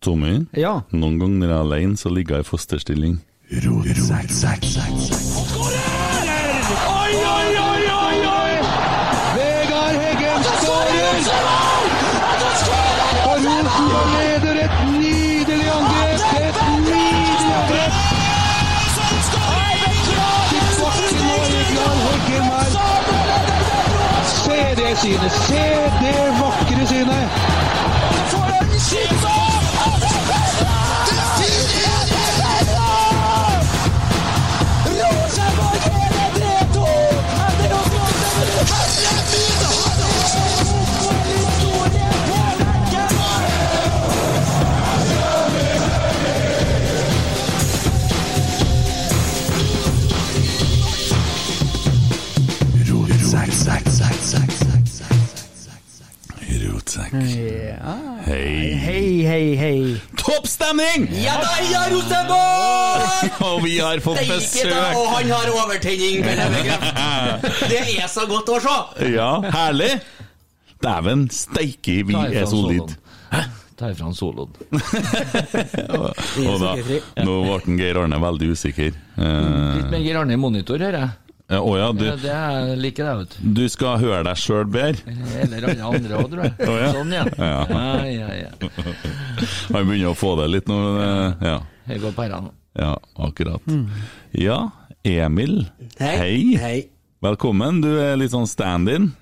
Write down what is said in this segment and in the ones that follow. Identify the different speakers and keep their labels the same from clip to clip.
Speaker 1: Tommy,
Speaker 2: Ja.
Speaker 1: noen ganger når jeg er alene, så ligger jeg i fosterstilling.
Speaker 3: Oi, oi, oi, oi, oi! Vegard Heggen skårer! Og Rosenborg leder et nydelig angrep! Et nydelig angrep! Tilbake nå, Vegard Heggen her. Se det synet! Se det vakre synet!
Speaker 1: Rotsekk.
Speaker 2: Ja.
Speaker 1: Hei.
Speaker 2: Hei, hei, hei.
Speaker 1: Topp stemning!
Speaker 4: Ja da, ja, Rosenborg!
Speaker 1: Og vi har fått
Speaker 4: Steike da, og
Speaker 1: besøk.
Speaker 4: han har overtenning! kan jeg bekrefte. Det er så godt å se!
Speaker 1: Ja, herlig! Dæven steike, vi
Speaker 2: Ta ifra sånn.
Speaker 1: er solid.
Speaker 2: soloen. Ta ifra han soloen.
Speaker 1: Og da, nå ble Geir Arne veldig usikker. Eh,
Speaker 2: Litt mer Geir Arne i monitor, hører jeg.
Speaker 1: ja, Å ja,
Speaker 2: Ja,
Speaker 1: du,
Speaker 2: det er- liker jeg, vet du.
Speaker 1: du skal høre deg sjøl bedre.
Speaker 2: Eller alle andre òg, tror jeg.
Speaker 1: Å, ja.
Speaker 2: Sånn, ja.
Speaker 1: Ja.
Speaker 2: Ja, ja, ja.
Speaker 1: Han begynner å få det litt nå. eh, Ja,
Speaker 2: Her går pærene.
Speaker 1: ja akkurat. Ja, Emil.
Speaker 4: Mm. Hei.
Speaker 1: Velkommen. Du er litt sånn stand-in.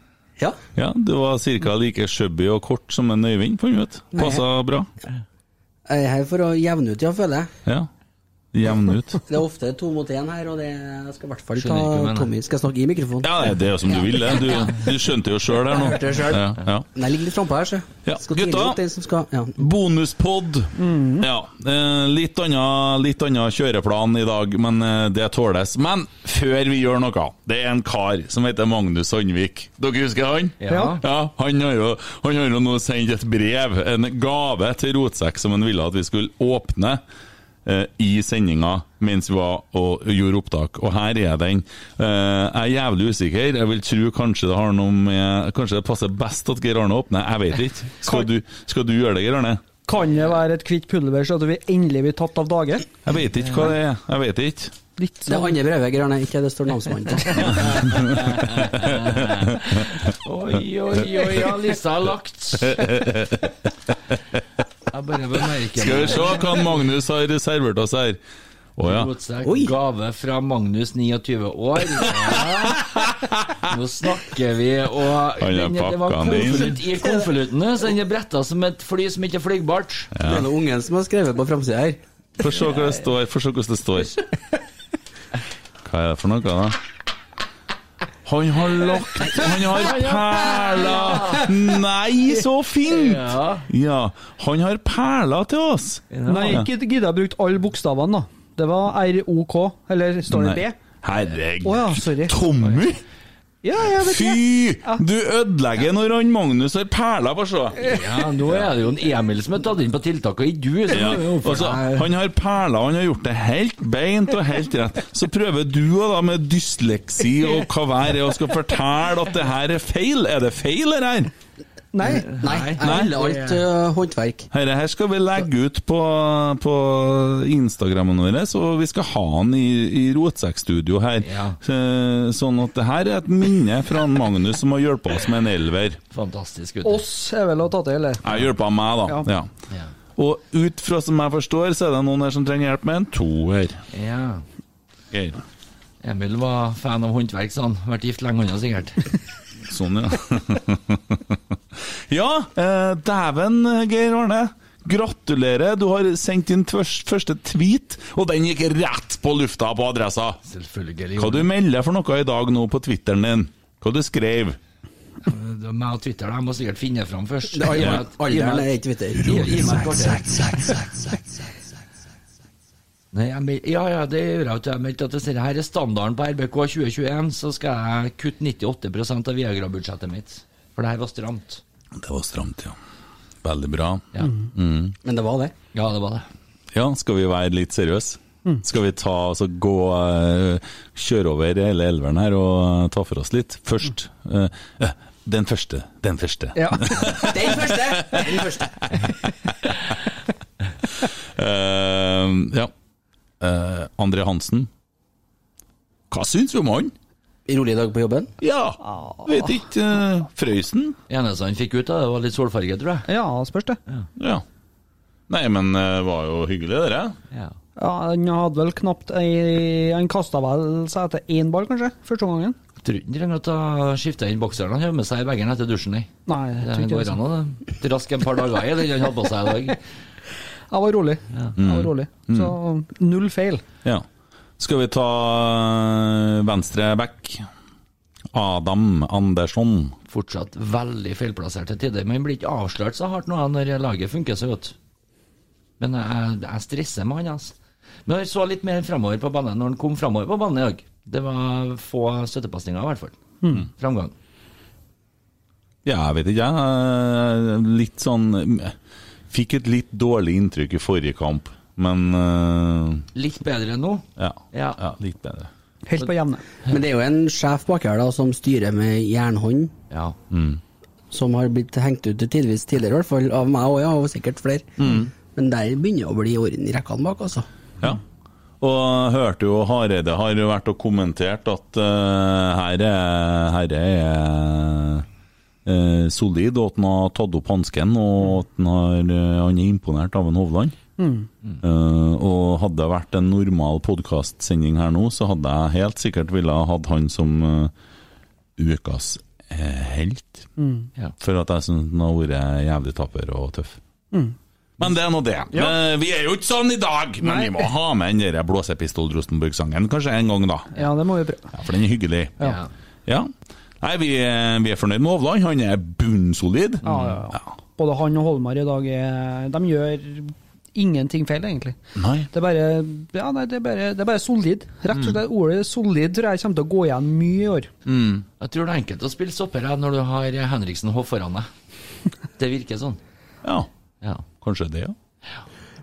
Speaker 4: Ja.
Speaker 1: Ja, du var ca. like chubby og kort som en Øyvind, fant vi ut. Passa bra.
Speaker 4: Jeg er her for å jevne ut, ja, føler jeg.
Speaker 1: Ja. Jevn ut.
Speaker 4: Det er ofte to mot én her, og det jeg skal i hvert fall ta
Speaker 2: Skjønner ikke hva jeg mener.
Speaker 4: Tommy. Skal jeg snakke i mikrofonen?
Speaker 1: Ja, det er jo som du ville. Du, du skjønte jo sjøl her nå.
Speaker 4: Jeg hørte det selv.
Speaker 1: Ja, ja.
Speaker 4: Men jeg ligger litt frampå her, så.
Speaker 1: Ja,
Speaker 4: Skal
Speaker 1: gutta.
Speaker 4: tidlig opp den som skal ja.
Speaker 1: Bonuspod.
Speaker 2: Mm.
Speaker 1: Ja, eh, litt annen, litt annen kjøreplan i dag, men eh, det tåles. Men før vi gjør noe, det er en kar som heter Magnus Sandvik. Dere husker han?
Speaker 2: Ja.
Speaker 1: Ja, han har jo, han har jo nå sendt et brev, en gave til Rotsekk, som han ville at vi skulle åpne eh, i sendinga mens vi var og gjorde opptak. Og her er den. Eh, jeg er jævlig usikker. Jeg vil tro kanskje det har noe med Kanskje det passer best at Geir Arne åpner. Jeg vet ikke. Skal du, skal du gjøre det, Geir Arne?
Speaker 3: Kan det være et hvitt pulver, så at vi endelig blir tatt av dage?
Speaker 1: Jeg vet ikke hva det er. Jeg vet ikke.
Speaker 3: Litt sånn.
Speaker 4: Det er andre brevet, Grane. Ikke det står namsmannen på.
Speaker 2: Oi, oi, oi, ja, lista er lagt. Jeg bare bemerker
Speaker 1: Skal vi
Speaker 2: meg.
Speaker 1: se hva Magnus har servert oss her. Å ja.
Speaker 2: Godsak,
Speaker 4: Oi.
Speaker 2: Gave fra Magnus, 29 år. Ja. Nå snakker vi, og
Speaker 1: Han har
Speaker 2: den- det var
Speaker 1: pakka den inn.
Speaker 2: konvolutt i konvoluttene, så den er bretta som et fly som ikke er flygbart.
Speaker 4: Det er noen ungen som har skrevet på framsida her.
Speaker 1: Få se hva det står. Få se hvordan det står. Hva er det for noe, da? Han har lagt Han har perler! Nei, så fint!
Speaker 2: Ja.
Speaker 1: Ja, han har perler til oss.
Speaker 3: Nei, ikke gidder jeg brukt alle bokstavene, da. Det var ROK, eller står det
Speaker 1: Nei.
Speaker 3: B? Å ja,
Speaker 1: Herregud.
Speaker 3: sorry.
Speaker 1: Tommy!
Speaker 4: Ja, jeg vet ikke.
Speaker 1: Fy! Du ødelegger når han Magnus har perler på seg.
Speaker 2: Ja, nå er det jo en Emil som er tatt inn på tiltak, og ikke du. Så
Speaker 1: Ja.
Speaker 2: må vi jo oppføre
Speaker 1: Altså,
Speaker 2: deg.
Speaker 1: han har perler, han har gjort det helt beint og helt rett. Så prøver du og da med dysleksi og hva vær er og skal fortelle at det her er feil. Er det feil, det her?
Speaker 4: Nei, nei, jeg
Speaker 1: Nei.
Speaker 4: vil alt eh, håndverk.
Speaker 1: Dette her skal vi legge ut på, på Instagrammen vår, og vi skal ha han i, i rotsekkstudio her.
Speaker 2: Ja.
Speaker 1: Eh, Sånn at det her er et minne fra han Magnus som har hjulpet oss med en elver.
Speaker 2: Fantastisk, gutt.
Speaker 4: Oss er vel å ta til, eller?
Speaker 1: Jeg hjulpet meg, da. Ja.
Speaker 2: Ja.
Speaker 1: Og ut fra som jeg forstår, så er det noen her som trenger hjelp med en toer.
Speaker 2: ja.
Speaker 1: Geir.
Speaker 2: Emil var fan av håndverk, sa han. Vært gift lenge unna, sikkert.
Speaker 1: Sånn, ja. ja, eh, dæven, Geir Arne. Gratulerer, du har sendt inn tvørs- første tweet, og den gikk rett på lufta på adressa.
Speaker 2: Selvfølgelig.
Speaker 1: Hva du melder for noe i dag nå på Twitteren din? Hva du skrev?
Speaker 2: Det er Meg og Twitter, da. jeg må sikkert finne fram først.
Speaker 4: Det er
Speaker 2: Gi
Speaker 4: aldri-
Speaker 2: meg et-
Speaker 4: aldri
Speaker 2: gi meg-
Speaker 4: vel er ikke Twitter.
Speaker 2: gi- gi meg et kvarter. Nei, jeg mel- ja, ja, det gjør jeg ikke. Jeg meldte at det her er standarden på RBK 2021, så skal jeg kutte 98 av Viagra-budsjettet mitt. For det her var stramt.
Speaker 1: Det var stramt, ja. Veldig bra.
Speaker 2: Ja,
Speaker 4: Men det var det.
Speaker 2: ja det var det.
Speaker 1: Ja, skal vi være litt seriøse? Skal vi ta, altså gå, eh, kjøre over hele elveren her og ta for oss litt? Først. eh, eh, Den første. Den første.
Speaker 4: Ja. Den første! Den første.
Speaker 1: Eh, ja. Eh, André Hansen. Hva syns vi om han?
Speaker 4: Rolig dag på jobben?
Speaker 1: Ja, vet ikke. eh, Frøysen?
Speaker 2: eneste han fikk ut, da, det var litt solfarge, tror jeg.
Speaker 5: Ja, spørs det.
Speaker 1: Ja. Nei, men det var jo hyggelig, dere.
Speaker 2: Ja.
Speaker 5: Ja, Han hadde vel knapt ei Han kasta vel seg etter én ball, kanskje, første gangen.
Speaker 2: Tror ikke han trenger å ta- skifte inn bokseren. Han har med seg i bagen etter dusjen. Jeg.
Speaker 5: Nei, jeg
Speaker 2: Det
Speaker 5: tror ikke
Speaker 2: går
Speaker 5: det.
Speaker 2: an å det. raske en par dager i den han hadde på seg i dag.
Speaker 5: Jeg var rolig. Jeg
Speaker 1: Mm.
Speaker 5: var rolig. Så null feil.
Speaker 1: Ja. Skal vi ta eh, venstre back? Adam Andersson.
Speaker 2: Fortsatt veldig feilplassert til tider, men blir ikke avslørt så hardt nå han, når laget funker så godt. Men jeg, jeg stresser med han, altså. Men jeg så litt mer framover på banen når han kom framover på banen i dag. Det var få støttepasninger, i hvert fall. Framgang.
Speaker 1: Ja, jeg vet ikke, jeg. eh, Litt sånn eh, Fikk et litt dårlig inntrykk i forrige kamp, men eh,
Speaker 2: Litt bedre nå.
Speaker 1: ja,
Speaker 2: Ja.
Speaker 1: ja. Litt bedre.
Speaker 5: Helt på jevne.
Speaker 4: Men det er jo en sjef bak her da, som styrer med jernhånd,
Speaker 2: Ja.
Speaker 4: som har blitt hengt ut til tidvis tidligere, i hvert fall av meg og ja, og sikkert flere. Men der begynner det å bli orden i rekkene bak, altså.
Speaker 1: Ja. Og jeg hørte jo Hareide har jo vært og kommentert at eh, her er, her er eh, solid, og at han har tatt opp hansken, og at han, har, eh, han er imponert av en Hovland. Eh, og hadde det vært en normal podkastsending her nå, så hadde jeg helt sikkert ville ha hatt han som eh, ukas eh, helt.
Speaker 2: Ja.
Speaker 1: For at jeg syns han har vært jævlig tapper og tøff. Men det er nå det. Eh, Vi er jo ikke sånn i dag! Men vi må ha med den der Blåsepistol Rosenborg-sangen kanskje en gang, da.
Speaker 5: Ja, det må vi prøve.
Speaker 1: Ja, For den er hyggelig.
Speaker 2: Ja.
Speaker 1: Ja. Nei, vi er, vi er fornøyd med Hovland. Han er bunnsolid.
Speaker 5: Ja, ja, ja. Både han og Holmar i dag er De gjør ingenting feil, egentlig.
Speaker 1: Nei.
Speaker 5: Det er bare Ja, nei, det er bare, det er bare solid. Rett og slett ordet solid tror jeg kommer til å gå igjen mye i år.
Speaker 2: Jeg tror det er enkelt å spille stopper her når du har Henriksen Hoff foran deg. Det virker sånn.
Speaker 1: Ja,
Speaker 2: Ja.
Speaker 1: kanskje det, ja.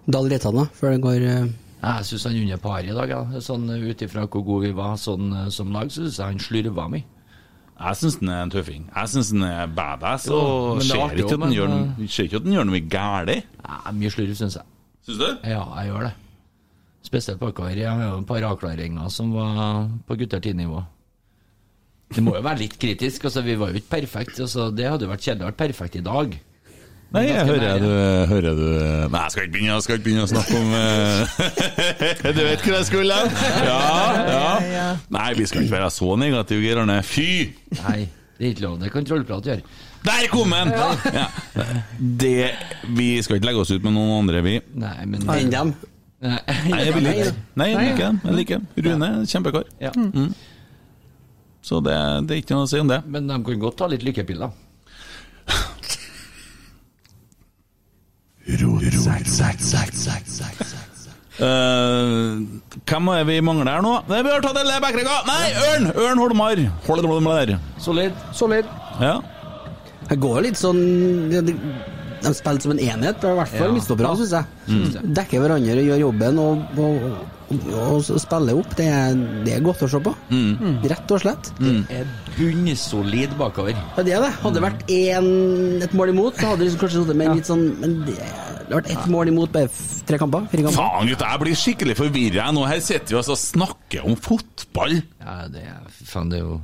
Speaker 4: Dall litt han da, før det går eh,
Speaker 2: Jeg syns han under par i dag, ja. sånn ut ifra hvor gode vi var sånn eh, som lag, så syns jeg han slurva mye.
Speaker 1: Jeg syns han er en tøffing. Jeg syns han er badass,
Speaker 2: men
Speaker 1: og
Speaker 2: det er
Speaker 1: ser
Speaker 2: artig
Speaker 1: ikke,
Speaker 2: også,
Speaker 1: at han
Speaker 2: men, eh,
Speaker 1: gjør, ser ikke at han gjør noe galt.
Speaker 2: Ja, mye slurv, syns jeg.
Speaker 1: Syns du?
Speaker 2: Ja, jeg gjør det. Spesielt bakover. Jeg har jo et par avklaringer som var på gutter 10-nivå. Det må jo være litt kritisk. altså Vi var jo ikke perfekte. Altså, det hadde jo vært kjedelig å være perfekt i dag.
Speaker 1: Nei, jeg
Speaker 2: Ganske
Speaker 1: hører
Speaker 2: nær,
Speaker 1: du, hører du Nei, jeg skal ikke begynne, jeg skal ikke begynne å snakke om eh, Du vet hvor jeg skulle? Ja, ja. Nei, vi skal ikke være så negative, Geir Arne. Fy!
Speaker 2: Nei, det er ikke lov. Det kan trollprat gjøre.
Speaker 1: Der kom den! Ja. Det, vi skal ikke legge oss ut med noen andre, vi.
Speaker 2: Nei, men
Speaker 4: enn dem.
Speaker 2: Nei,
Speaker 1: Nei, jeg vil ikke. Nei, jeg liker dem. Jeg liker dem. Rune er en kjempekar.
Speaker 2: Ja.
Speaker 1: Så det, det er ikke noe å si om det.
Speaker 2: Men de kan godt ta litt lykkepiller.
Speaker 1: Eh, hvem er vi mangler her nå? Nei, vi har tatt alle backerekka! Nei, Ørn! Ørn Holmar! Holmar.
Speaker 2: Solid.
Speaker 5: Solid.
Speaker 1: Ja.
Speaker 4: Det går litt sånn ja, De, de spiller som en enhet, i hvert fall
Speaker 2: Ja.
Speaker 4: midtstopperne, syns jeg. Dekker hverandre, og gjør jobben og, og, og, og spiller opp. Det er, det er godt å se på.
Speaker 5: Mm.
Speaker 4: Rett og slett.
Speaker 2: Er bunnsolid bakover.
Speaker 4: Ja, det er det. Hadde det vært en, et mål imot, så hadde det liksom kanskje sittet med en litt sånn Men det det har vært ett mål imot på f- tre kamper? Fire kamper?
Speaker 1: Faen, gutta, jeg blir skikkelig forvirra nå. Her sitter vi altså og snakker om fotball.
Speaker 2: Ja, det er fy Faen, det er jo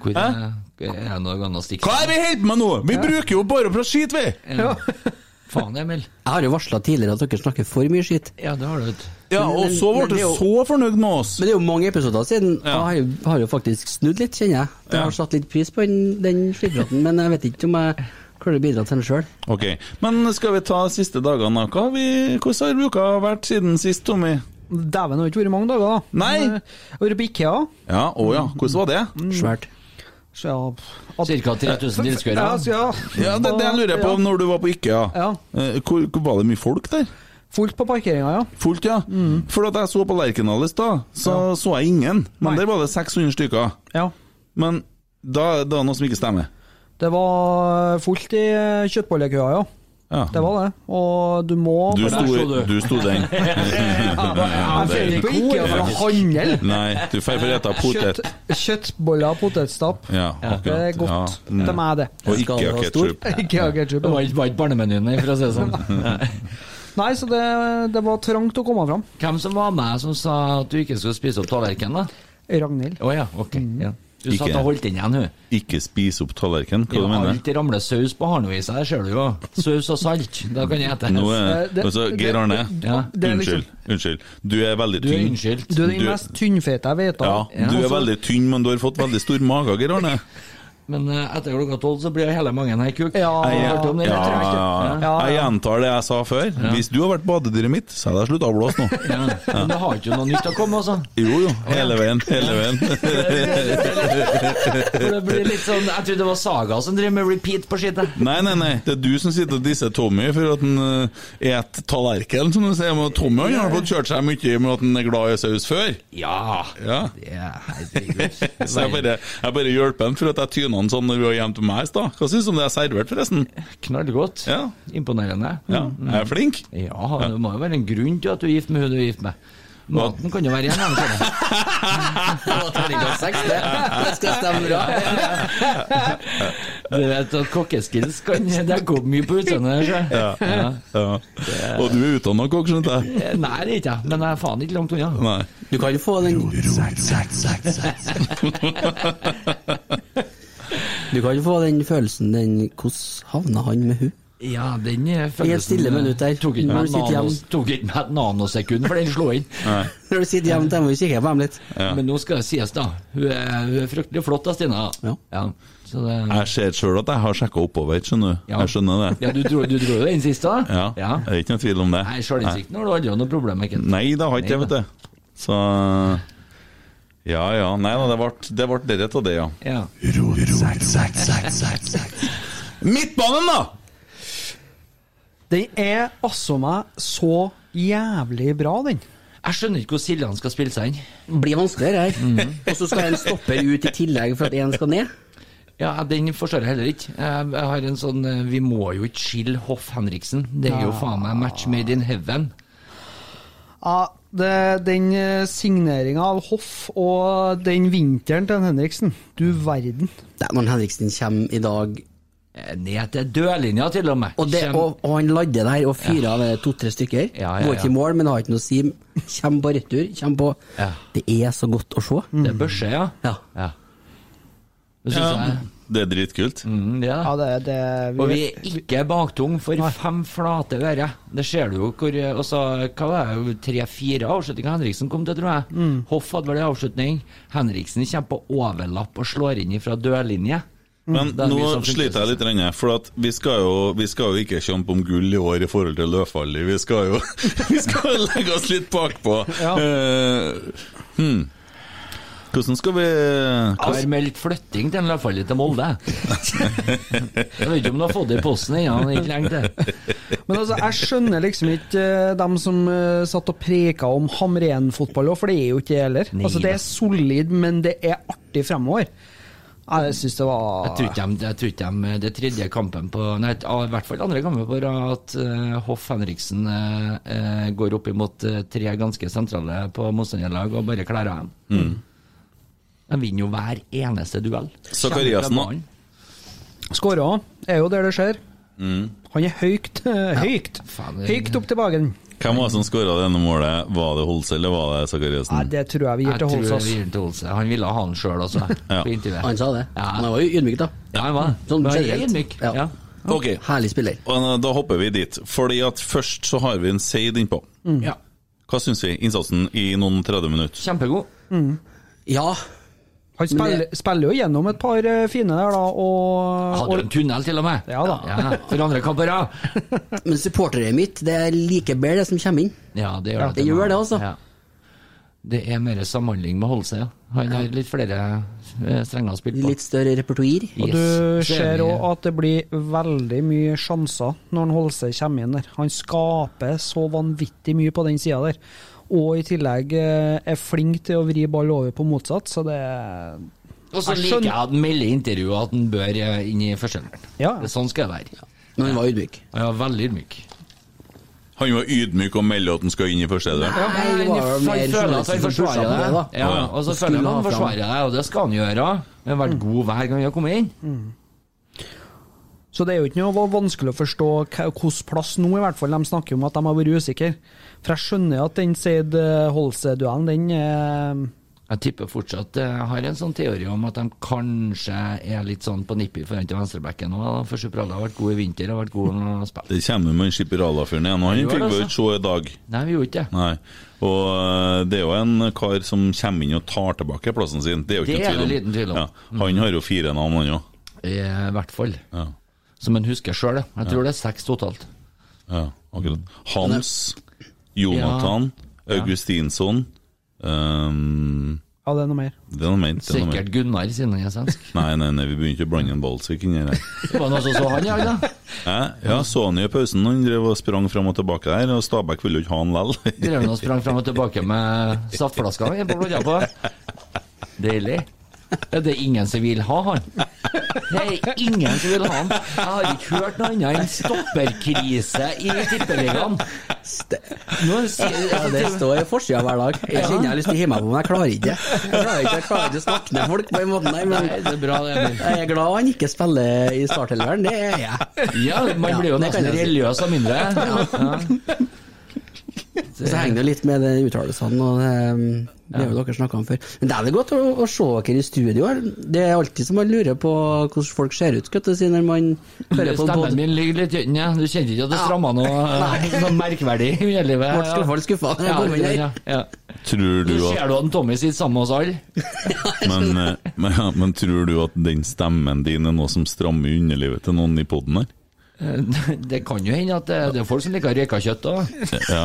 Speaker 2: Hvor
Speaker 1: Hæ?
Speaker 2: er, er det noe annet å stikke
Speaker 1: Hva er det vi holder på med nå? Vi bruker jo bare på skit, vi!
Speaker 2: Ja. Faen, Emil.
Speaker 4: Jeg har jo varsla tidligere at dere snakker for mye skitt.
Speaker 2: Ja, det har du. vet du.
Speaker 1: Ja,
Speaker 4: Men-
Speaker 1: og
Speaker 4: men-
Speaker 1: så
Speaker 4: men
Speaker 1: ble
Speaker 4: det er
Speaker 1: du
Speaker 4: jo-
Speaker 1: så fornøyd med oss.
Speaker 4: Men det er jo mange episoder siden, og
Speaker 1: Ja.
Speaker 4: jeg har jo- har jo faktisk snudd litt, kjenner jeg. Jeg
Speaker 1: Ja.
Speaker 4: har satt litt pris på den, den skipraten, men jeg vet ikke om jeg klarer å bidra til den sjøl.
Speaker 1: Ok, men skal vi ta siste dagene, da? Hva har vi- Hvordan har uka vært siden sist, Tommy?
Speaker 5: Dæven, det har ikke vært mange dager, da.
Speaker 1: Nei.
Speaker 5: Men, eh, Jeg har vært på Ikea. Mm.
Speaker 1: Ja, å ja, hvordan var det?
Speaker 4: Svært.
Speaker 5: Så ja, pff, at-
Speaker 2: Cirka 3000 tilskuere.
Speaker 5: Ja, så ja.
Speaker 1: Ja, Det, det lurer jeg på når du var på IKEA.
Speaker 5: Ja.
Speaker 1: Eh, Hvor, hvor var det mye folk der?
Speaker 5: Fullt på parkeringa, ja.
Speaker 1: Fullt, ja.
Speaker 5: Mm.
Speaker 1: For at jeg så på Lerkendal i stad, så så jeg ingen. Men
Speaker 5: Nei.
Speaker 1: der var det 600 stykker.
Speaker 5: ja.
Speaker 1: Men da, da er det noe som ikke stemmer.
Speaker 5: Det var fullt i eh, kjøttbollekøa, ja.
Speaker 1: Ja.
Speaker 5: Det var det. Og du må
Speaker 1: Du
Speaker 2: der sto
Speaker 1: sto,
Speaker 2: du.
Speaker 1: du sto den.
Speaker 5: Jeg drar ikke på Ikea for å handle.
Speaker 1: Nei, du får for ete potet.
Speaker 5: Kjøtt, kjøttboller og potetstapp.
Speaker 1: Ja, akkurat.
Speaker 5: Det er godt.
Speaker 1: Ja. Mm.
Speaker 5: De er det.
Speaker 4: Skal
Speaker 1: Og ikke
Speaker 4: det være stor?
Speaker 1: ketsjup.
Speaker 5: Ikea ketchup.
Speaker 2: Det
Speaker 5: ja.
Speaker 2: var ikke var ikke barnemenyen, nei, for å si det sånn.
Speaker 5: Nei, så det, det var trangt å komme fram.
Speaker 2: Hvem som var med som sa at du ikke skulle spise opp tallerkenen, da?
Speaker 5: Ragnhild.
Speaker 2: Å ja, ok. Ja. Du
Speaker 1: Ikke
Speaker 2: satt
Speaker 1: jeg.
Speaker 2: og holdt den igjen, hun.
Speaker 1: Ikke spise opp tallerken, hva du
Speaker 2: Ja,
Speaker 1: mener
Speaker 2: Alt ramler saus på harnevisa, det ser du jo. Saus og salt, da kan jeg ete.
Speaker 1: Nå er
Speaker 5: Eh, det-
Speaker 1: altså, Geir Arne,
Speaker 2: Ja.
Speaker 5: Det er liksom-
Speaker 1: unnskyld. unnskyld Du er veldig
Speaker 2: Du er
Speaker 1: tynn.
Speaker 2: unnskyldt.
Speaker 5: Du er den
Speaker 1: Du-
Speaker 5: mest tynnfete jeg vet
Speaker 1: Ja,
Speaker 5: av.
Speaker 1: du er veldig tynn, men du har fått veldig stor mage, Geir Arne.
Speaker 2: Men eh, etter klokka tolv så blir hele mangen her kuk.
Speaker 5: Ja.
Speaker 2: Ah, Jeg har
Speaker 5: Ja.
Speaker 2: hørt om det, jeg tror
Speaker 5: ikke.
Speaker 1: Ja, ja.
Speaker 5: Ja,
Speaker 1: Jeg
Speaker 5: ja.
Speaker 1: gjentar det jeg sa før. Hvis du har vært badedyret mitt, så hadde jeg slutta å blåse nå.
Speaker 2: Ja. Men det har ikke noe nytt å komme, altså.
Speaker 1: Jo jo, hele veien. Hele veien.
Speaker 2: For det blir litt sånn, Jeg trodde det var Saga som driver med repeat på skittet.
Speaker 1: Nei, nei, nei. Det er du som sitter og disser Tommy for at han uh, et tallerken, som du sier. Men Tommy han har fått kjørt seg mye med at han er glad i saus før.
Speaker 2: Ja.
Speaker 1: Ja.
Speaker 2: ja herregud.
Speaker 1: Så jeg bare, jeg bare hjelper han for at jeg tyna han sånn når vi var hjemme til meg i stad. Hva syns du om det jeg serverte, forresten?
Speaker 2: Knallgodt.
Speaker 1: Ja.
Speaker 2: Imponerende.
Speaker 1: Ja, jeg er flink.
Speaker 2: Ja, det må jo være en grunn til at du er gift med hun du er gift med. Maten kan jo være igjen. altså.
Speaker 4: Terningkast seks, det. Det skal stemme bra.
Speaker 2: Du vet at kokkeskills kan dekke opp mye på utseendet. her, så.
Speaker 1: Ja. Og du er utdanna kokk, skjønte jeg.
Speaker 2: Nei, det er ikke jeg, men jeg er faen ikke langt unna.
Speaker 1: Nei.
Speaker 4: Du kan jo få den Du kan jo få den følelsen den Hvordan havna han med hun?
Speaker 2: Ja, den er følelsen eh,
Speaker 4: Helt stille minutt der.
Speaker 2: Tok ikke
Speaker 4: Når
Speaker 2: meg et
Speaker 4: du sitter
Speaker 2: nanos,
Speaker 4: hjemme.
Speaker 2: tok ikke meg et nanosekund, for den slo inn.
Speaker 4: Når du sitter hjemme til dem og kikker på dem litt.
Speaker 2: Men nå skal det sies, da. Hun er, hun er fryktelig flott, da, Stina.
Speaker 4: Ja.
Speaker 2: Så det,
Speaker 1: Jeg ser sjøl at jeg har sjekka oppover, skjønner du.
Speaker 2: Ja.
Speaker 1: Jeg skjønner det.
Speaker 2: ja, du dro, du dro jo den siste, da?
Speaker 1: Ja. Det er ikke noen tvil om det.
Speaker 2: Nei, sjølinnsikten har du aldri hatt noe problem med. Kent.
Speaker 1: Nei, det har ikke jeg, vet du. Så Ja ja. Nei da, det ble- det ble dere av det, ja.
Speaker 2: Ja.
Speaker 1: Midtbanen, da!
Speaker 5: Den er altså meg så jævlig bra, den.
Speaker 2: Jeg skjønner ikke hvor Siljan skal spille seg inn. Mhm.
Speaker 4: Blir vanskeligere her. Og så skal en stopper ut i tillegg for at én skal ned.
Speaker 2: Ja, Den forstår jeg heller ikke. Jeg jeg har en sånn eh, Vi må jo ikke skille Hoff Henriksen. Det er jo faen meg match made in heaven.
Speaker 5: Ja, det, den signeringa av Hoff og den vinteren til Henriksen, du verden.
Speaker 4: Det er når Henriksen kommer i dag,
Speaker 2: Eh, Ned til dørlinja, til og med.
Speaker 4: og, det,
Speaker 2: Kjem-
Speaker 4: og, og han ladder der og fyrer av eh, to-tre stykker.
Speaker 2: Ja, ja,
Speaker 4: Går ikke i
Speaker 2: ja.
Speaker 4: mål, men har ikke noe å si. Kommer på retur. Kommer på
Speaker 2: Ja.
Speaker 4: Det er så godt å se.
Speaker 2: Det er børse, ja.
Speaker 4: Mm. Ja.
Speaker 2: ja. Det syns
Speaker 1: Ja.
Speaker 2: jeg.
Speaker 1: Det er dritkult.
Speaker 2: Mm, det er det.
Speaker 5: Ja, det, det
Speaker 2: Og vi er ikke baktung for fem flate øre. Det ser du jo hvor Og så hva var det, tre-fire avslutninger Henriksen kom til, tror jeg. Hoff hadde vel en avslutning. Henriksen kommer på overlapp og slår inn fra dørlinje.
Speaker 1: Men
Speaker 2: Mm. Det er
Speaker 1: nå
Speaker 2: mye som funker,
Speaker 1: sliter jeg litt, grann, for at vi, skal jo, vi skal jo ikke kjempe om gull i år i forhold til Løfaldli. Vi skal jo vi skal jo legge oss litt bakpå. Eh, hmm. Hva Hvordan skal vi
Speaker 2: Jeg har meldt flytting til Løfallet til Molde. Jeg vet ikke om du har fått det i posten ennå, men ikke lenge til.
Speaker 5: Men altså, jeg skjønner liksom ikke eh, dem som eh, satt og preka om Hamren-fotball òg, for det er jo ikke det heller.
Speaker 2: Nei
Speaker 5: altså, det
Speaker 2: da.
Speaker 5: er solid, men det er artig fremover. Jeg syns det var
Speaker 2: Jeg tror ikke de, jeg tror ikke de Det er tredje kampen på Nei, ja, i hvert fall andre kampen på rad at eh, Hoff Henriksen eh, eh, går opp imot eh, tre ganske sentrale på motstanderlag og bare klarer dem.
Speaker 1: Mm.
Speaker 2: De vinner jo hver eneste duell.
Speaker 1: Zakariassen, da?
Speaker 2: Kjempebanen.
Speaker 5: Skåra er jo der det skjer. Han er høyt, eh, høyt.
Speaker 2: Mm. faen, det-
Speaker 5: Høyt opp til bagen.
Speaker 1: Hvem var det som skåra det ene målet? Var det Holse eller var det
Speaker 5: Nei,
Speaker 1: Sakariassen?
Speaker 5: det tror jeg vi gir
Speaker 2: Mm. Jeg
Speaker 5: til
Speaker 2: tror jeg
Speaker 5: Holsås.
Speaker 2: vi gir den til Holse. Han ville ha han sjøl også,
Speaker 1: Ja.
Speaker 2: på intervjuet.
Speaker 4: Han sa det.
Speaker 2: Ja.
Speaker 4: Men han var jo ydmyk, da.
Speaker 2: Ja, han var det.
Speaker 4: Sånn
Speaker 2: Men han er
Speaker 4: generelt.
Speaker 2: ydmyk.
Speaker 4: Ja.
Speaker 2: Ja.
Speaker 1: Ok,
Speaker 4: Herlig spiller.
Speaker 1: og eh, da hopper vi dit. Fordi at først så har vi en seid innpå.
Speaker 4: Mm.
Speaker 2: Ja.
Speaker 1: Hva syns vi? Innsatsen i noen 30 minutter.
Speaker 2: Kjempegod.
Speaker 4: Ja,
Speaker 5: Han spiller, spiller jo gjennom et par eh, fine der, da, og,
Speaker 2: Hadde jo en
Speaker 5: og
Speaker 2: tunnel, til og med.
Speaker 5: Ja da.
Speaker 2: For andre kamper, ja.
Speaker 4: men supporteret mitt, det er like bedre det som kommer inn.
Speaker 2: Ja, det gjør
Speaker 4: Ja,
Speaker 2: det.
Speaker 4: det
Speaker 2: til
Speaker 4: gjør
Speaker 2: meg.
Speaker 4: det, altså.
Speaker 2: Ja. Det er mer samhandling med Holse, ja. Han har litt flere eh, strenger å spille på.
Speaker 4: Litt større repertoar.
Speaker 5: og
Speaker 2: Yes.
Speaker 5: du
Speaker 2: Så er
Speaker 5: ser
Speaker 2: vi-
Speaker 5: òg at det blir veldig mye sjanser når han Holse kommer inn der. Han skaper så vanvittig mye på den sida der, og i tillegg eh, er flink til å vri ball over på motsatt, så det
Speaker 2: Og så
Speaker 5: Jeg
Speaker 2: liker
Speaker 5: skjønner-
Speaker 2: jeg at han melder i intervjuet at han bør eh, inn i førsteelveren.
Speaker 5: Ja.
Speaker 2: Sånn skal det være.
Speaker 4: Men han var ydmyk.
Speaker 2: Han er veldig ydmyk.
Speaker 1: Han var ydmyk og meldte at han skal inn i første eder.
Speaker 2: Ja,
Speaker 4: Nei, det var jo
Speaker 2: han
Speaker 4: mer
Speaker 2: føler at
Speaker 4: journalister
Speaker 2: han
Speaker 4: som
Speaker 2: forsvarer
Speaker 4: pusha på
Speaker 2: deg.
Speaker 4: det, da.
Speaker 2: Ja,
Speaker 1: Ja, ja.
Speaker 2: og så
Speaker 4: Og
Speaker 2: føler han
Speaker 4: skulle ha
Speaker 2: han
Speaker 4: fram.
Speaker 2: forsvarer deg, og det skal han gjøre. Han har vært god hver gang han har kommet inn.
Speaker 5: Så det er jo ikke noe vanskelig å forstå hvilken plass nå, i hvert fall. De snakker om at de har vært usikre. For jeg skjønner at den Seid eh, Holse-duellen, den eh,
Speaker 2: Jeg tipper fortsatt eh, har en sånn teori om at de kanskje er litt sånn på nippet i forhold til venstrebacken nå. da, For Supralla har vært god i vinter og vært god når han har spilt.
Speaker 1: Det kommer med Skipperala-fyren igjen, og han
Speaker 2: gjør
Speaker 1: fikk
Speaker 2: det,
Speaker 1: vi jo
Speaker 2: altså.
Speaker 1: ikke se i dag.
Speaker 2: Nei, vi gjorde ikke det.
Speaker 1: Nei. Og eh, det er jo en kar som kommer inn og tar tilbake plassen sin. Det er jo ikke
Speaker 2: Det er
Speaker 1: noe
Speaker 2: det
Speaker 1: tvil om.
Speaker 2: liten tvil om.
Speaker 1: Ja. Han har jo fire navn, han òg.
Speaker 2: I hvert fall.
Speaker 1: Ja.
Speaker 2: Som en husker sjøl, jeg tror det er seks totalt.
Speaker 1: Ja, akkurat. Hans, Jonathan, Augustinsson ehm,
Speaker 5: Ja, det er noe mer.
Speaker 1: Det er noe ment. Det er noe
Speaker 2: Sikkert
Speaker 1: ment.
Speaker 2: Gunnar, siden han er svensk.
Speaker 1: Nei, nei, nei, vi begynner ikke å blande en Balsvik inn i det. her.
Speaker 2: Det var noen som så han i dag, da.
Speaker 1: Hæ? Ja, så han i pausen, han drev og sprang fram og tilbake der, og Stabæk ville jo ikke ha han lell.
Speaker 2: Drev han og sprang fram og tilbake med saftflaska han er på blodja på. Deilig. Ja, Det er ingen som vil ha han. Det er ingen som vil ha han. Jeg har ikke hørt noe annet enn stopperkrise i Tippeligaen. Nå sier-
Speaker 4: Ja, det står i forsida hver dag. Jeg kjenner jeg har lyst til å hive meg på, men jeg klarer ikke. Jeg klarer ikke, jeg klarer ikke å snakke med folk på den måten der, men
Speaker 2: Nei, det er bra, det, Emil.
Speaker 4: jeg er glad han ikke spiller i startelveren, det er jeg.
Speaker 2: Ja, man blir jo
Speaker 4: Ja, det
Speaker 2: nesten
Speaker 4: kan jeg si.
Speaker 2: religiøs av mindre. Ja.
Speaker 4: Og Så henger det litt med de uttalelsene, og det, um, det har jo dere snakka om før. Men det er vel godt å, å se dere i studio. Det er alltid som man lurer på hvordan folk ser ut, skal jeg si, når man hører på en
Speaker 2: Stemmen
Speaker 4: podkast.
Speaker 2: min ligger litt tynn, ja. Du kjente ikke at det stramma noe, noe merkverdig i underlivet?
Speaker 4: Ble skuffa, ble skuffa når jeg
Speaker 2: Ja,
Speaker 4: kom inn her.
Speaker 2: ja, ja.
Speaker 1: Tror du
Speaker 2: Så
Speaker 1: at
Speaker 2: ser du at Tommy sitter sammen med oss alle.
Speaker 1: men, eh, men, ja, men tror du at den stemmen din er noe som strammer underlivet til noen i poden her?
Speaker 2: Eh, Det kan jo hende at det, det er folk som liker røyka kjøtt òg.
Speaker 1: Ja.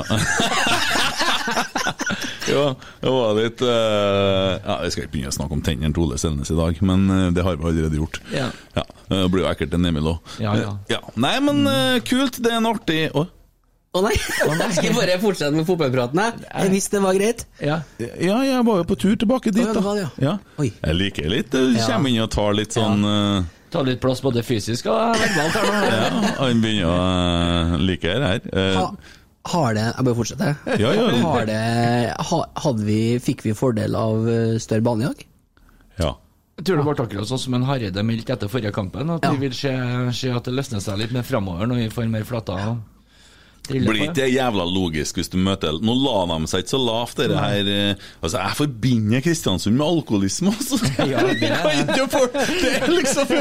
Speaker 1: ja, det var litt eh, Ja, Vi skal ikke begynne å snakke om tennene til Ole Selnes i dag, men eh, det har vi allerede gjort.
Speaker 2: Ja.
Speaker 1: eh, Det blir jo ekkelt en Emil òg.
Speaker 2: Ja, ja.
Speaker 1: Nei, men eh, kult. Det er en artig Å,
Speaker 4: Å nei, jeg skal bare fortsette med fotballpraten, jeg. Jeg visste det var greit.
Speaker 2: Ja.
Speaker 1: Ja, jeg var jo på tur tilbake dit,
Speaker 4: Å, ja,
Speaker 1: da.
Speaker 4: det var det,
Speaker 1: ja.
Speaker 4: ja. Oi.
Speaker 1: Jeg liker litt Du kommer inn og tar litt sånn eh,
Speaker 2: Ta litt plass både fysisk og verbalt her nå.
Speaker 1: Ja, han begynner å eh, like det her. Eh,
Speaker 4: Ha, har det Jeg bare fortsetter.
Speaker 1: Ja, ja.
Speaker 4: Har det, ha, hadde vi, fikk vi fordel av eh, større bane i dag?
Speaker 1: ja.
Speaker 2: Jeg tror det ble akkurat sånn som en Hareide meldte etter forrige kampen, at vi vil se, se at det løsner seg litt mer framover når vi får mer flata.
Speaker 1: Blir ikke det jævla logisk hvis du møter Nå la de seg ikke så lavt, dere her eh, Altså, jeg forbinder Kristiansund med alkoholisme, altså!
Speaker 2: Ja, det er det.
Speaker 1: Kan jo for, det er liksom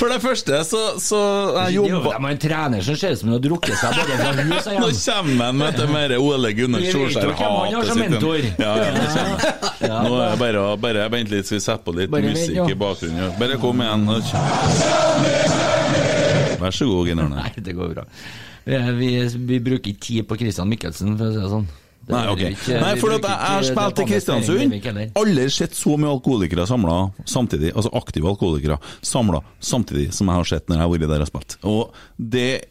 Speaker 1: For det første, så, så jeg
Speaker 2: jo
Speaker 1: jobba
Speaker 2: en trener som ser ut som han har drukket seg både fra hus og
Speaker 1: Nå
Speaker 2: hjem.
Speaker 1: kommer han med det mer Ole Gunnar
Speaker 2: Vi vet jo
Speaker 1: Solskjær
Speaker 2: hvem han har som
Speaker 1: hatet sitt.
Speaker 2: mentor.
Speaker 1: Ja, ja, det kommer. Nå er det bare å bare vent litt, så vi setter på litt
Speaker 2: Bare vent,
Speaker 1: musikk
Speaker 2: ja.
Speaker 1: i bakgrunnen. ja. Bare kom igjen. nå kommer- Vær så god, Gunnar.
Speaker 2: Nei, det går bra. Eh, Vi, vi bruker ikke tid på Christian Mikkelsen, for å si det sånn. Det
Speaker 1: Nei,
Speaker 2: er
Speaker 1: ok.
Speaker 2: jo ikke-
Speaker 1: Nei,
Speaker 2: vi
Speaker 1: for at
Speaker 2: bruker
Speaker 1: jeg, jeg har
Speaker 2: ikke
Speaker 1: spilt i
Speaker 2: det på andre
Speaker 1: Kristiansund.
Speaker 2: Ringvik heller.
Speaker 1: Aldri sett så mye alkoholikere samla samtidig, altså aktive alkoholikere samla samtidig som jeg har sett når jeg har vært der og spilt. Og det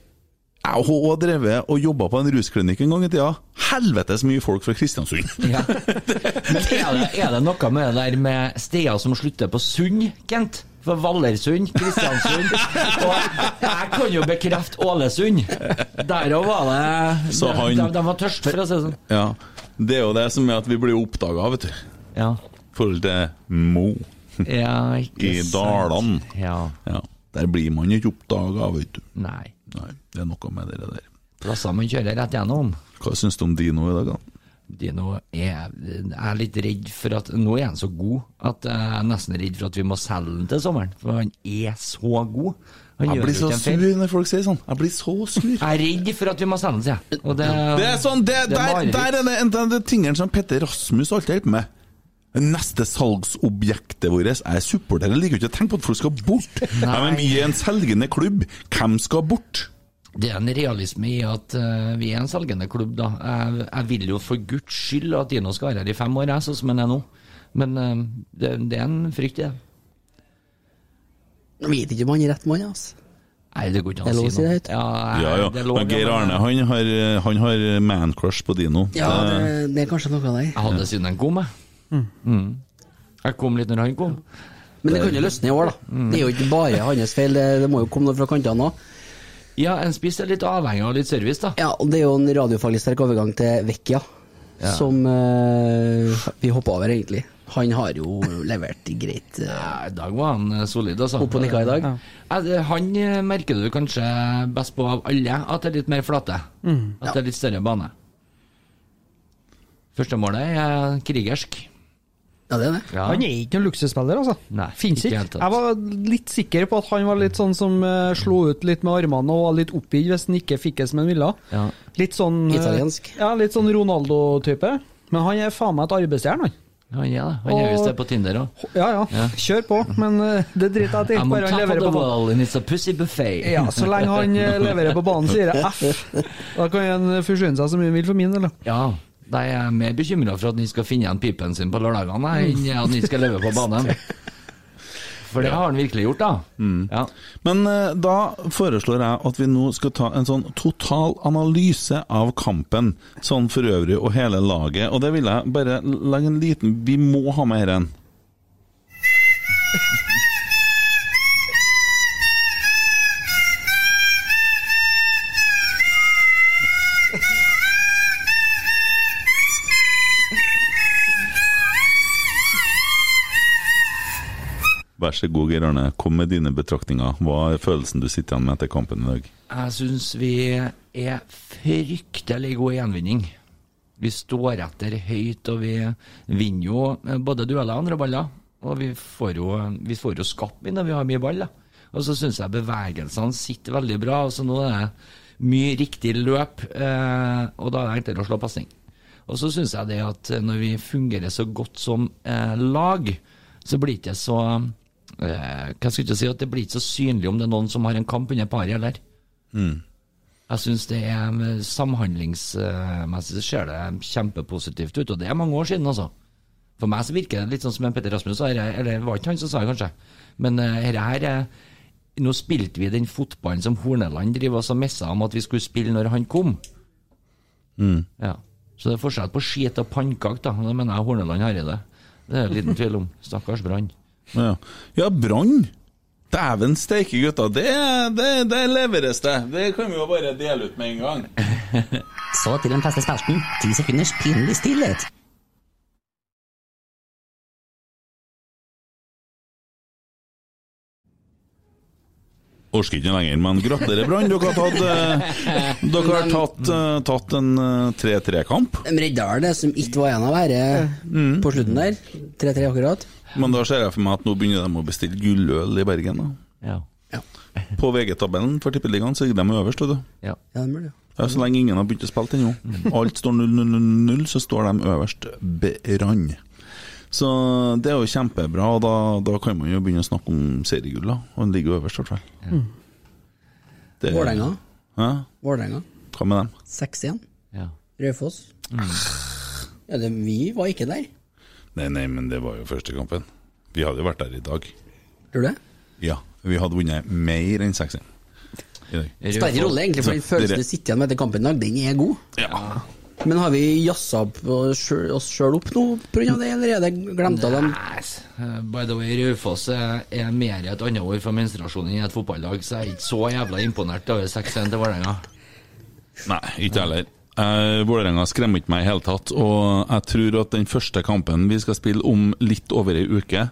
Speaker 1: Jeg har også drevet og jobba på en rusklinikk en gang i tida. Helvetes mye folk fra Kristiansund!
Speaker 2: Ja. Men er det, er det noe med det der med steder som slutter på Sund, Kent? For Vallersund, Kristiansund Og jeg kan jo bekrefte Ålesund. Derav var det
Speaker 1: Så han-
Speaker 2: de, de var tørst, for å si det sånn.
Speaker 1: Ja. Det er jo det som er at vi blir oppdaga, vet du.
Speaker 2: Ja,
Speaker 1: I forhold til Mo
Speaker 2: ja ikke
Speaker 1: i
Speaker 2: sant.
Speaker 1: Dalane.
Speaker 2: Ja,
Speaker 1: Ja. Der blir man jo ikke oppdaga, vet du.
Speaker 2: nei.
Speaker 1: Nei, det er noe med det der.
Speaker 2: Plasser man kjører rett gjennom.
Speaker 1: Hva syns du om Dino i dag, da?
Speaker 2: Dino er, jeg er litt redd for at Nå er han så god at jeg er nesten redd for at vi må selge han til sommeren. For han er så god. Han
Speaker 1: Jeg
Speaker 2: gjør
Speaker 1: blir
Speaker 2: jo
Speaker 1: så
Speaker 2: ikke en
Speaker 1: sur
Speaker 2: feil.
Speaker 1: når folk sier sånn. Jeg blir så sur.
Speaker 2: Jeg er redd for at vi må selge han, sier jeg. Og det,
Speaker 1: Det er sånn, det,
Speaker 2: Det er
Speaker 1: der,
Speaker 2: mareritt.
Speaker 1: der er det en av de tingene som Petter Rasmus alltid hjelper med. Neste salgsobjektet vårt er supportere. Jeg liker jo ikke å tenke på at folk skal bort. Ja, men vi er en selgende klubb. Hvem skal bort?
Speaker 2: Det er en realisme i at eh, vi er en selgende klubb, da. Jeg, jeg vil jo for guds skyld at Dino skal være her i fem år, jeg, sånn som han er nå. Men eh, det, det er en frykt, det.
Speaker 4: Jeg vet ikke om han er rett mann, altså.
Speaker 2: Nei, det går ikke an
Speaker 4: Er det
Speaker 2: å
Speaker 4: lov å si
Speaker 2: si noe.
Speaker 4: det høyt?
Speaker 2: Ja,
Speaker 1: Ja, ja.
Speaker 2: det er lov,
Speaker 1: Men Geir
Speaker 2: ja, men-
Speaker 1: Arne han har, han har man-crush på Dino.
Speaker 4: Ja, det, det er kanskje noe der.
Speaker 2: Jeg hadde siden han kom, jeg. Mm. Jeg kom litt når han kom.
Speaker 4: Men det kan jo løsne i år, da. Det er jo ikke bare hans feil, det, det må jo komme noe fra kantene òg.
Speaker 2: Ja, en spiss er litt avhengig av litt service, da.
Speaker 4: Ja, og det er jo en radiofaglig sterk overgang til Vecchia, som eh, vi hoppa over, egentlig. Han har jo levert greit. eh,
Speaker 2: Ja, I dag var han eh, solid, altså.
Speaker 4: Opp og nikka i dag.
Speaker 2: Ja. Ja, det- Han eh, merker du kanskje best på av alle, at det er litt mer flate.
Speaker 5: Mm.
Speaker 2: At det er litt større bane. Første målet er eh, krigersk.
Speaker 4: Ja, det er det.
Speaker 2: Ja.
Speaker 5: Han er ikke noen luksusspiller, altså.
Speaker 2: Nei,
Speaker 5: Fins
Speaker 2: ikke i
Speaker 5: ikke.
Speaker 2: det hele tatt.
Speaker 5: Jeg var litt sikker på at han var litt sånn som eh, slo ut litt med armene og var litt oppgitt hvis han ikke fikk det som han ville.
Speaker 2: Ja.
Speaker 5: Litt sånn eh,
Speaker 4: Italiensk.
Speaker 5: Ja, litt sånn Ronaldo-type. Men han er faen meg et arbeidsjern, han.
Speaker 2: Han er det. Han er
Speaker 5: Og-
Speaker 2: visst det på Tinder òg.
Speaker 5: Ja, ja, kjør på, men eh, det driter jeg til.
Speaker 2: I'm on
Speaker 5: Bare han
Speaker 2: top of
Speaker 5: leverer
Speaker 2: the
Speaker 5: på banen.
Speaker 2: wall and it's a pussy buffet.
Speaker 5: Ja, så lenge han eh, leverer på banen, sier jeg F. Da kan han forsyne seg så mye han vil for min del. da.
Speaker 2: Ja, da er jeg mer bekymra for at han skal finne igjen pipen sin på lørdagene jeg, enn at han skal leve på banen. For det har han virkelig gjort, da. Ja.
Speaker 1: Men eh, da foreslår jeg at vi nå skal ta en sånn total analyse av kampen, sånn for øvrig, og hele laget. Og det vil jeg bare legge en liten Vi må ha med dette. Vær så god, Geir Arne. Kom med dine betraktninger. Hva er følelsen du sitter igjen med etter kampen i dag?
Speaker 2: Jeg syns vi er fryktelig gode i gjenvinning. Vi står etter høyt, og vi vinner jo eh, både dueller og andre baller. Og vi får jo, vi får jo skapt mye når vi har mye ball. Da. Og så syns jeg bevegelsene sitter veldig bra. Og så nå er det mye riktig løp, eh, og da er det enklere å slå pasning. Og så syns jeg det at når vi fungerer så godt som eh, lag, så blir det ikke så eh, Hva skal jeg ikke si, at det blir ikke så synlig om det er noen som har en kamp under paret, eller? Jeg syns det er eh, samhandlingsmessig så ser det kjempepositivt ut, og det er mange år siden, altså. For meg så virker det litt sånn som en Petter Rasmus, sa, eller eller var ikke han som sa det, kanskje. Men eh, dette her er Nå spilte vi den fotballen som Horneland driver oss og messa om at vi skulle spille når han kom. Ja. Så det er forskjell på skit og pannkake, da. Da mener jeg Horneland Hareide. Det er det liten tvil om. Stakkars Brann.
Speaker 1: Ja, ja Brann! Dæven steike, gutta. Det, det, det leveres, det. Det kan vi jo bare dele ut med en gang.
Speaker 4: Så til den faste spalten. Ti sekunders pinlig stillhet.
Speaker 1: Orker ikke lenger, men gratulerer, Brann. Dere har tatt, eh, dere har tatt, eh, tatt en eh, 3-3-kamp.
Speaker 4: De redda vel det som ikke var en av ære på slutten der. 3-3 akkurat.
Speaker 1: Men da ser jeg for meg at nå begynner de å bestille gulløl i Bergen. Da.
Speaker 2: Ja.
Speaker 1: På VG-tabellen for Tippeligaen så ligger de øverst. vet Du.
Speaker 2: ja.
Speaker 4: Ja, det burde jo.
Speaker 1: Ja, så lenge ingen har begynt å spille ennå. Alt står 0-0-0, så står de øverst. Brann. Så det er jo kjempebra, og da, da kan man jo begynne å snakke om seriegull. da. Og den ligger jo øverst, i hvert fall.
Speaker 4: Mm.
Speaker 1: Det-
Speaker 4: Vålerenga.
Speaker 1: Hæ?
Speaker 4: Vålerenga.
Speaker 1: Hva med dem?
Speaker 4: 6-1.
Speaker 2: ja. Mm.
Speaker 4: Raufoss. Ja, det, vi var ikke der.
Speaker 1: Nei, nei, men det var jo første kampen. Vi hadde jo vært der i dag.
Speaker 4: Tror du det?
Speaker 1: Ja, vi hadde vunnet mer enn 6-1 i dag.
Speaker 4: Sperre rolle, egentlig, for den
Speaker 1: Så, dere-
Speaker 4: følelsen du sitter igjen med etter kampen i dag, den er god.
Speaker 1: Ja.
Speaker 4: Men har vi jazza opp oss sjøl- oss sjøl opp nå pga. det, eller er det glemt av dem?
Speaker 2: Nei, s- eh, By the way, Raufoss er er mer et annet ord for menstruasjon enn et fotballag, så jeg er ikke så jævla imponert over 6-1 til Vålerenga.
Speaker 1: Nei, ikke heller. Eh, Vålerenga skremmer ikke meg i hele tatt. Og jeg tror at den første kampen vi skal spille om litt over ei uke,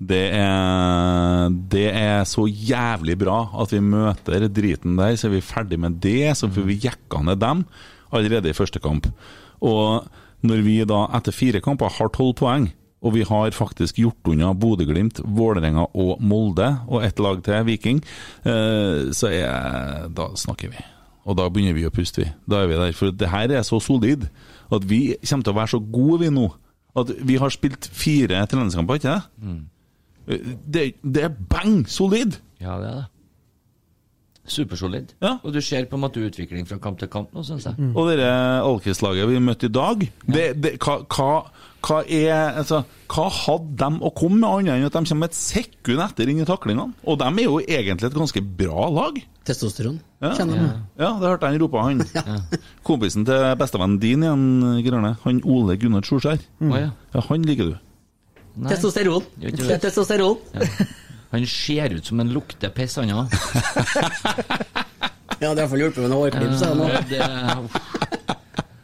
Speaker 1: det er, det er så jævlig bra at vi møter driten der, så er vi ferdig med det. Så får vi jekka ned dem allerede i første kamp. Og når vi da etter fire kamper har tolv poeng, og vi har faktisk gjort unna Bodø-Glimt, Vålerenga og Molde, og ett lag til, Viking, eh, så er Da snakker vi. Og da begynner vi å puste, vi. Da er vi der. For det her er så solid at vi kommer til å være så gode, vi nå. At vi har spilt fire treningskamper, ikke det? Det, det er bang solid!
Speaker 2: Ja, det er det. Supersolid.
Speaker 1: Ja.
Speaker 2: Og du ser på en måte utvikling fra kamp til kamp nå, syns jeg.
Speaker 1: Og det Alkis-laget vi møtte i dag, det, det, hva, hva, hva er altså, Hva hadde de å komme med, annet enn at de kommer et sekund etter inn i taklingene? Og de er jo egentlig et ganske bra lag.
Speaker 4: Testosteron.
Speaker 1: Ja.
Speaker 4: Kjenner du den?
Speaker 1: Ja, det hørte jeg han ropa, han. Kompisen til bestevennen din igjen, Grønne, han Ole Gunnar Solskjær.
Speaker 2: Å, ja.
Speaker 1: Ja, han liker du.
Speaker 2: Nei.
Speaker 4: Testosteron.
Speaker 2: Jo, ikke
Speaker 4: Det er
Speaker 2: det.
Speaker 4: testosteron.
Speaker 2: Han ser ut som en lukter piss, han òg.
Speaker 4: Ja, det har iallfall hjulpet med noen hårklipp, sa jeg nå.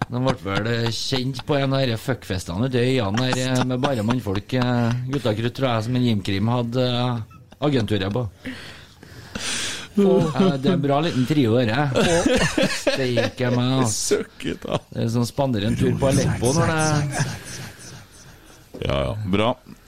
Speaker 2: De ble vel eh, kjent på en av disse fuckfestene ute i øyene der eh, med bare mannfolk. eh, Guttakrutt tror jeg som en Jim-krim hadde eh, agenturet på. Eh, det er en bra liten trio, dette. Steike meg, ass.
Speaker 1: Søkket, da.
Speaker 2: Det er sånn spanderer en tur på Aleppo når det
Speaker 1: Ja, ja. Bra.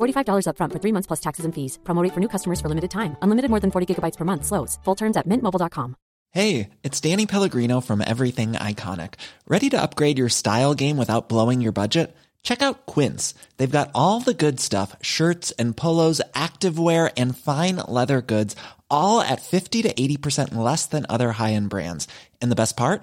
Speaker 6: $45 upfront for three months plus taxes and fees. Promo rate for new customers for limited time. Unlimited more than 40 gigabytes per month. Slows. Full terms at mintmobile.com.
Speaker 7: Hey, it's Danny Pellegrino from Everything Iconic. Ready to upgrade your style game without blowing your budget? Check out Quince. They've got all the good stuff shirts and polos, activewear, and fine leather goods, all at 50 to 80% less than other high end brands. And the best part?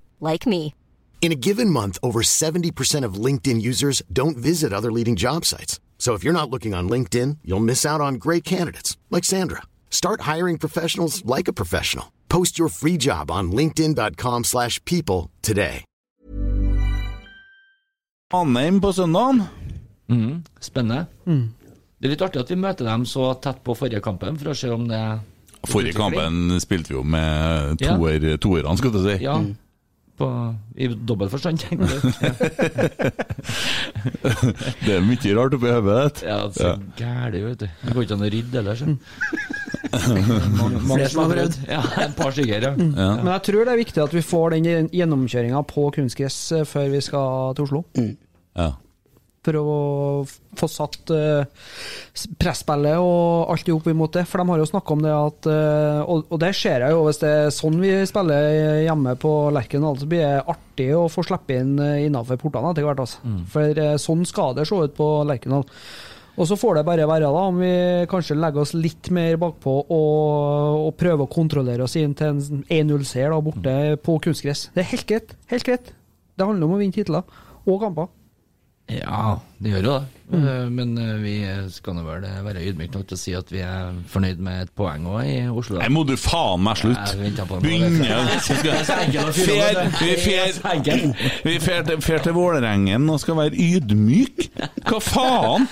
Speaker 6: like me.
Speaker 8: In a given month, over 70% of LinkedIn users don't visit other leading job sites. So if you're not looking on LinkedIn, you'll miss out on great candidates like Sandra. Start hiring professionals like a professional. Post your free job on linkedin.com/people slash people today.
Speaker 1: Anheim på søndagen.
Speaker 2: Mhm. Spennende.
Speaker 4: Mm.
Speaker 2: Det er litt artig at vi møter dem så tett på forrige kampen, for å se om det
Speaker 1: Forrige kampen spilte vi jo med
Speaker 2: Ja.
Speaker 1: toer, toerne, skal du si.
Speaker 2: Ja. På, I dobbel forstand, tenker jeg.
Speaker 1: Det er mye rart oppi hodet ditt.
Speaker 2: Ja, det er så gæli, vet du. Det går ikke an å rydde ellers. ja. Mange- mange
Speaker 4: Mm. Flere som har prøvd. Mm.
Speaker 2: Ja, et par stykker, ja.
Speaker 5: Men jeg tror det er viktig at vi får den gjennomkjøringa på kunstgress eh, før vi skal til Oslo.
Speaker 1: Ja.
Speaker 5: For å f- få satt eh, s- presspillet og alt i hop imot det. For de har jo snakka om det at eh, Og, og det ser jeg jo, hvis det er sånn vi spiller hjemme på Lerkendal, så blir det artig å få slippe inn eh, innafor portene etter hvert. Altså. For eh, sånn skal det se ut på Lerkendal. Og så får det bare være, da, om vi kanskje legger oss litt mer bakpå og, og prøver å kontrollere oss inn til en 1-0-seier da, borte på kunstgress. Det er helt greit. Helt greit. Det handler om å vinne titler og kamper.
Speaker 2: Ja, det gjør jo det.
Speaker 4: Mm.
Speaker 2: Eh, Men eh, vi skal nå vel eh, være ydmyke nok til å si at vi er fornøyd med et poeng òg i Oslo.
Speaker 1: Nei, må du faen meg slutte!
Speaker 2: Jeg venter på det.
Speaker 1: Begynner
Speaker 2: Det er så- det er så enkelt å fyre
Speaker 1: Fer-
Speaker 2: opp, det.
Speaker 1: Vi
Speaker 2: Det er så
Speaker 1: fer
Speaker 2: enkelt.
Speaker 1: vi fer til, fer til Vålerengen og skal være ydmyk Hva faen?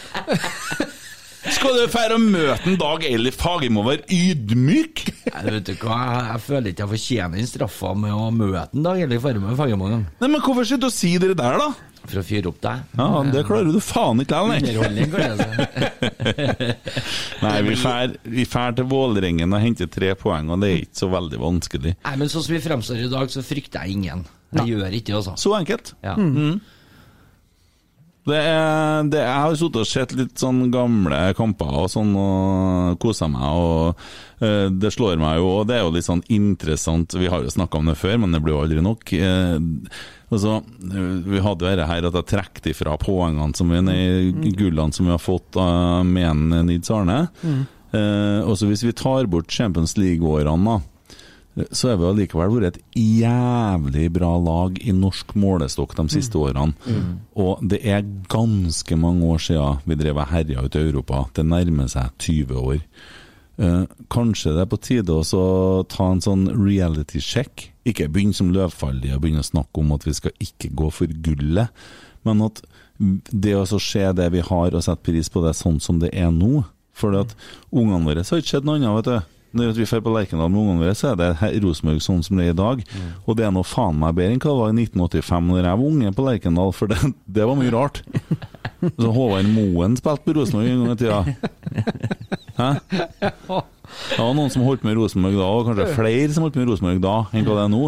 Speaker 1: Skal du fære og møte en Dag Eilif Fagermo og være ydmyk?
Speaker 2: Nei, Eh, Vet du hva, jeg, jeg føler ikke jeg fortjener den straffa med å møte en dag eller farme fagemangen.
Speaker 1: Nei, men hvorfor sitter du og sier det der, da?
Speaker 2: For å fyre opp deg.
Speaker 1: Ja, det klarer du faen ikke likevel,
Speaker 2: Underholdning,
Speaker 1: nei. Nei, vi fær, vi fær til Vålerengen og henter tre poeng, og det er ikke så veldig vanskelig.
Speaker 2: Nei, men sånn som vi fremstår i dag, så frykter jeg ingen. Jeg gjør ikke det, altså.
Speaker 1: Så enkelt.
Speaker 2: Ja.
Speaker 1: Mm. Det er, det, jeg har sittet og sett litt sånn gamle kamper og sånn og kosa meg. og eh, Det slår meg jo, og det er jo litt sånn interessant Vi har jo snakka om det før, men det blir jo aldri nok. Eh, altså, eh, vi hadde jo dette her at jeg trakk ifra poengene som vi, nei, gullene som vi har fått av Menen Nids Arne.
Speaker 9: Mm.
Speaker 1: Eh, og så hvis vi tar bort Champions League-årene, da, så har vi allikevel vært et jævlig bra lag i norsk målestokk de siste årene.
Speaker 9: Mm.
Speaker 1: Og det er ganske mange år siden vi drev og herja ut i Europa. Det nærmer seg 20 år. Eh, kanskje det er på tide også å ta en sånn reality check. Ikke begynne som løvfallige og begynne å snakke om at vi skal ikke gå for gullet, men at det å så se det vi har og sette pris på det sånn som det er nå For at ungene våre så har ikke skjedd noe annet, vet du. Når vi drar på Lerkendal med ungene våre, så er det her Rosenborg sånn som det er i dag. Og det er nå faen meg bedre enn hva det var i 1985 når jeg var unge på Lerkendal, for det, det var mye rart. Så Håvard Moen spilte på Rosenborg en gang i tida. Hæ? Det var noen som holdt med Rosenborg da, og kanskje flere som holdt med Rosenborg da enn hva det er nå.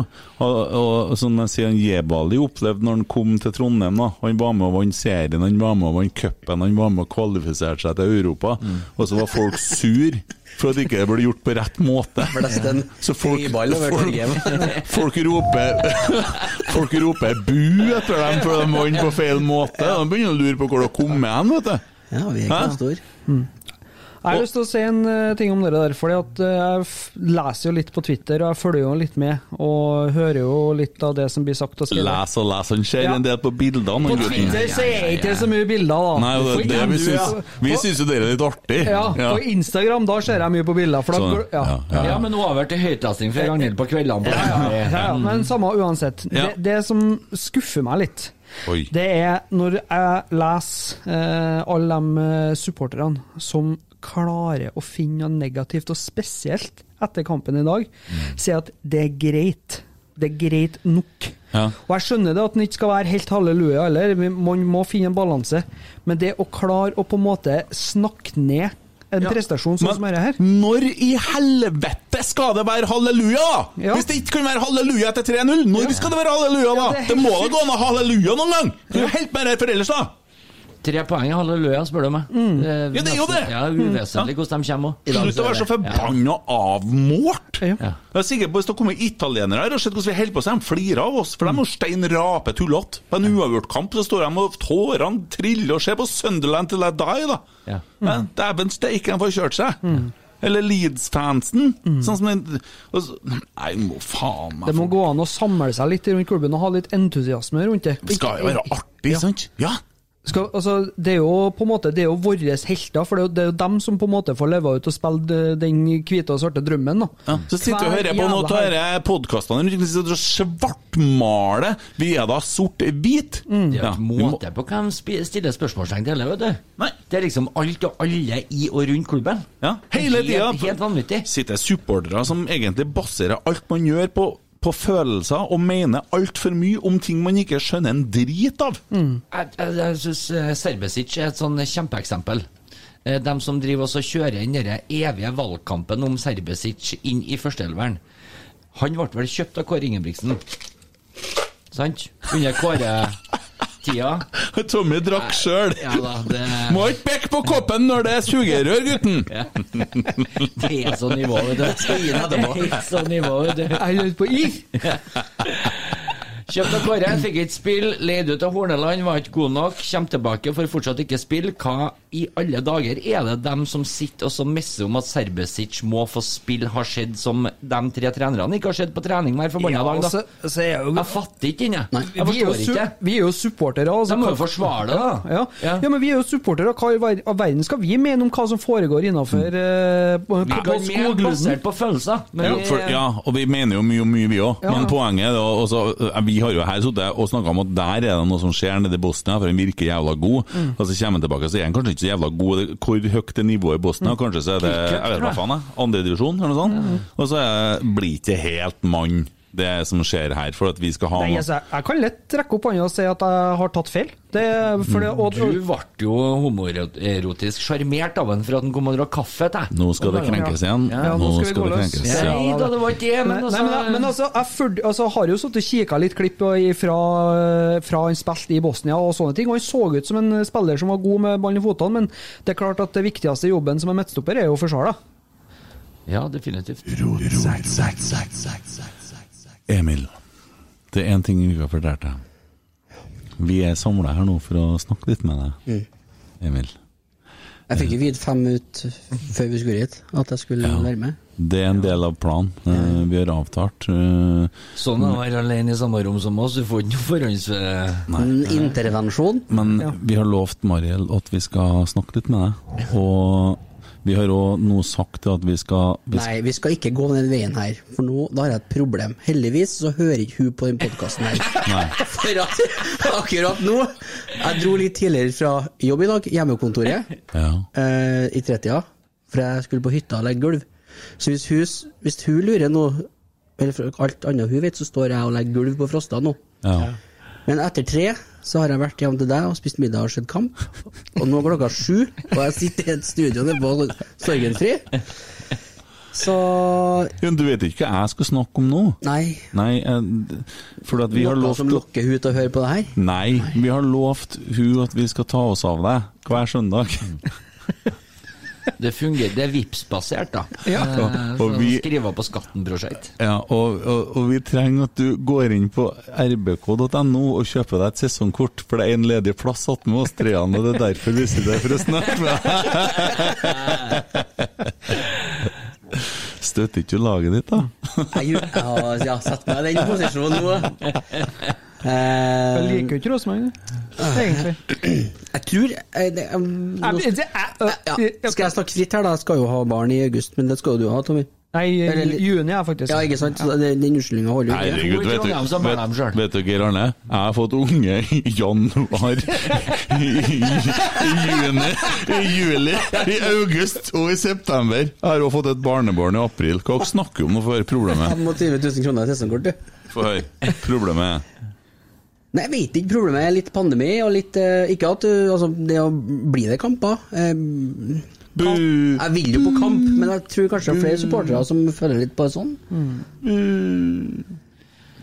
Speaker 1: Og, og som jeg sier, han Jebali opplevde når han kom til Trondheim, da. Han var med og vant serien, han var med og vant cupen, han var med og kvalifiserte seg til Europa. Og så var folk sur for at ikke det ble gjort på rett måte. Så folk, folk, folk roper Folk roper bu etter dem for de vant på feil måte. De begynner å lure på hvor de kom med hen, vet du.
Speaker 4: Ja, vi
Speaker 1: Hæ?
Speaker 5: Jeg har lyst til å si en eh, ting om dere der, fordi at eh, jeg f- leser jo litt på Twitter, og jeg følger jo litt med, og hører jo litt av det som blir sagt og skrevet.
Speaker 1: Les og les, han ser en del på bildene.
Speaker 5: På
Speaker 1: han gutten.
Speaker 5: Twitter så er det ikke så mye bilder, da.
Speaker 1: Nei, og det,
Speaker 5: På
Speaker 1: det vi
Speaker 5: Insta-
Speaker 1: syns, vi syns jo det er litt artig.
Speaker 5: Ja, på Instagram da ser jeg mye på bilder. For da,
Speaker 1: Sånn,
Speaker 5: ja.
Speaker 1: ja, ja.
Speaker 2: Ja, men over til høytlesning fra Ragnhild på kveldene. på-
Speaker 5: Ja, ja, men samme uansett.
Speaker 2: Ja.
Speaker 5: Det, det som skuffer meg litt,
Speaker 2: Oi.
Speaker 5: det er når jeg leser eh, alle de eh, supporterne som klarer å finne noe negativt, og spesielt etter kampen i dag, sier at det er greit. Det er greit nok.
Speaker 1: Ja.
Speaker 5: Og jeg skjønner det at den ikke skal være helt halleluja heller, men man må finne en balanse. Men det å klare å på en måte snakke ned en prestasjon sånn som dette her
Speaker 1: Når i helvete skal det være halleluja, da?! Hvis det ikke kan være halleluja etter 3-0, når skal det være halleluja, da?!
Speaker 5: Ja, det
Speaker 1: det,
Speaker 5: er helt
Speaker 1: må da
Speaker 5: sykt.
Speaker 1: gå an å ha halleluja noen gang! Kan du helt med det for ellers, da?!
Speaker 2: Tre poeng i halleluja, spør du meg.
Speaker 1: Ja, det er jo det!
Speaker 2: Ja, Uvesentlig hvordan de kommer også.
Speaker 1: Slutt å være så forbanna avmålt!
Speaker 5: Ja.
Speaker 1: Jeg er sikker på Hvis det kommer italienere her og ser hvordan vi holder på, så de flirer av oss. For de er jo stein rape tullete. På en uavgjort kamp så står de og tårene triller og ser på Sunderland til I die, da.
Speaker 2: Ja.
Speaker 1: Men dæven steike, de får kjørt seg. Eller Leeds-fansen. Sånn som den og så- Nei, må faen meg
Speaker 5: Det må gå an å samle seg litt rundt klubben og ha litt entusiasme rundt det.
Speaker 1: Det skal jo være artig, sant? Ja.
Speaker 5: Skal, altså, det er jo på en måte Det er jo våre helter, for det er jo, det er jo dem som på en måte får leve ut og spille de- den hvite og svarte drømmen. Da.
Speaker 1: Så sitter og
Speaker 5: Hver
Speaker 1: hører på noen
Speaker 5: jævla helg.
Speaker 1: av podkastene rundt omkring, så sitter og svartmaler. Vi er da sort-hvit.
Speaker 2: Det er jo
Speaker 1: Ja,
Speaker 2: ikke
Speaker 1: vi må-
Speaker 2: måte på hvem spi- stiller spørsmålstegn til heller, vet du.
Speaker 1: Nei.
Speaker 2: Det er liksom alt og alle i og rundt klubben.
Speaker 1: Ja, hele
Speaker 2: Det er
Speaker 1: tida
Speaker 2: helt- Helt vanvittig.
Speaker 1: sitter supportere som egentlig baserer alt man gjør på, på følelser, og mener altfor mye om ting man ikke skjønner en drit av.
Speaker 2: Jeg, jeg, jeg syns Serbesic er et sånn kjempeeksempel. Eh, De som driver også kjører inn den evige valgkampen om Serbesic inn i førsteelveren. Han ble vel kjøpt av Kåre Ingebrigtsen? Sant? Under Kåre-tida.
Speaker 1: Tommy drakk sjøl!
Speaker 2: Ja da, det
Speaker 1: Må ikke pekke på koppen når det er sugerør, gutten!
Speaker 2: Det er sånn nivå, vet du. Det er helt sånn nivå, vet du.
Speaker 5: Jeg lurer på is!
Speaker 2: Kjøpt av Kåre, fikk ikke spille, leid ut av Horneland, var ikke god nok, kommer tilbake, får fortsatt ikke spille. Hva i alle dager er det dem som sitter og så messer om at Serbesic må få spille, har skjedd som de tre trenerne ikke har sett på trening hver forbanna
Speaker 5: Ja,
Speaker 2: dag, da?
Speaker 5: så- så er jo-
Speaker 2: Jeg fatter ikke den, jeg. Jeg
Speaker 5: Vi er jo
Speaker 2: forstår
Speaker 5: su-
Speaker 2: ikke.
Speaker 5: Vi er jo supportere. Altså,
Speaker 2: De må jo
Speaker 5: hva-
Speaker 2: forsvare det, da.
Speaker 5: Ja, ja. ja, men vi er jo supportere. Hva i ver- av verden skal vi mene om hva som foregår eh, innafor
Speaker 2: Vi kan mene basert på følelser. men
Speaker 1: jo,
Speaker 2: vi-
Speaker 1: for, ja, og vi mener jo mye om mye, vi òg.
Speaker 2: Ja,
Speaker 1: Men
Speaker 2: ja.
Speaker 1: poenget er da også, eh, Vi har jo her sittet og snakka om at der er det noe som skjer nede i Bosnia, for han virker jævla god.
Speaker 2: Mm.
Speaker 1: Og så kommer han tilbake, så er han kanskje ikke så jævla god. Hvor høyt er nivået i Bosnia?
Speaker 2: Mm.
Speaker 1: Kanskje så er det
Speaker 2: Cricket,
Speaker 1: jeg vet
Speaker 2: tror jeg. Mm.
Speaker 1: hva faen jeg, andredivisjon, eller noe sånt.
Speaker 5: Mhm.
Speaker 1: Og så er- blir ikke helt mann, det som skjer her, for at vi skal ha
Speaker 5: Nei,
Speaker 1: noe
Speaker 5: altså, jeg- jeg kan lett trekke opp hånda og si at jeg har tatt feil. Det, er for det, og,
Speaker 2: Du ble jo homoerotisk sjarmert av han for at han kom og drakk kaffe til deg.
Speaker 1: Nå skal det krenkes igjen.
Speaker 2: Ja,
Speaker 1: nå
Speaker 2: nå
Speaker 1: skal,
Speaker 2: skal vi
Speaker 1: det
Speaker 2: gå løs. Ja.
Speaker 1: krenkes.
Speaker 2: Nei da, det var ikke det, men
Speaker 5: Nei,
Speaker 2: altså-
Speaker 5: nei, men, men altså, jeg følg- altså, jeg har jo sittet og kikka litt klipp og- fra, fra han spilte i Bosnia og sånne ting, og han så ut som en spiller som var god med ballen i fotene, men det er klart at det viktigste jobben som er midtstopper, er jo å forsvare.
Speaker 2: Ja, definitivt.
Speaker 1: Emil, det er én ting vi ikke har fortalt deg. Vi er samla her nå for å snakke litt med deg, Emil.
Speaker 4: Jeg fikk jo vidt fem minutter før vi skulle hit at jeg skulle være med.
Speaker 1: Det er en del av planen. Eh, Vi har avtalt eh,
Speaker 2: Sånn å være alene i samme rom som oss, du får ikke noe forhånds...
Speaker 4: En intervensjon.
Speaker 1: Men vi har lovt Mariel at vi skal snakke litt med deg. Og vi har òg nå sagt at vi skal vi
Speaker 4: Nei, vi skal ikke gå den veien her, for nå da har jeg et problem. Heldigvis så hører ikke hun på den podkasten her.
Speaker 1: Nei.
Speaker 4: For at, akkurat nå Jeg dro litt tidligere fra jobb i dag, hjemmekontoret, eh, i 30-tida, for jeg skulle på hytta og legge gulv. Så hvis hun, s- hvis hun lurer nå, eller for alt annet hun vet, så står jeg og legger gulv på Frosta nå.
Speaker 1: Ja.
Speaker 4: Men etter tre så har jeg vært hjem til deg og spist middag og sett kamp. Og nå er klokka sju, og jeg sitter i et studio nede på Sorgenfri. Så
Speaker 1: Jo, Du vet ikke hva jeg skal snakke om nå?
Speaker 4: Nei.
Speaker 1: Nei, eh, For at vi har
Speaker 4: Noe
Speaker 1: lovt
Speaker 4: som lokker hun til å høre på det her?
Speaker 1: Nei, vi har lovt hun at vi skal ta oss av deg hver søndag.
Speaker 4: Mm.
Speaker 2: Det fungerer, det er Vipps-basert, da.
Speaker 1: Ja.
Speaker 2: Eh,
Speaker 1: Og- og
Speaker 2: så
Speaker 1: vi-
Speaker 2: Skriver på skatten-prosjekt.
Speaker 1: Ja, og, og, og vi trenger at du går inn på rbk.no og kjøper deg et sesongkort, for det er en ledig plass attmed oss treene, og det er derfor vi sitter her for å snakke med deg. Støtter ikke du laget ditt, da?
Speaker 4: Jeg, gjør- jeg har jeg har satt meg i den posisjonen nå.
Speaker 5: Jeg
Speaker 4: Eh,
Speaker 5: liker jo ikke Rosenborg, egentlig.
Speaker 4: Jeg tror eh, det, eh, nå- eh,
Speaker 5: Jeg- jeg-
Speaker 4: ja, Skal jeg snakke fritt her, da? Jeg skal jo ha barn i august, men det skal jo du ha, Tommy.
Speaker 5: Nei,
Speaker 4: Eller-
Speaker 5: juni er faktisk
Speaker 4: Ja, ikke sant? Så Den den unnskyldninga holder jo ikke.
Speaker 1: Herregud, vet du, vet, vet du Geir Arne? Jeg har fått unge i januar, i, i, i juni, i juli, i august og i september. Jeg har også fått et barnebarn i april. Hva dere snakker om nå for problemet?
Speaker 4: 25 000 kroner i sesongkort, du.
Speaker 1: Få høre. Problemet er
Speaker 4: Nei, jeg vet ikke. Problemet er litt pandemi og litt eh, Ikke at du Altså, det å bli det kamper eh, Jeg vil jo på kamp, men jeg tror kanskje det er flere supportere som føler litt på det sånn.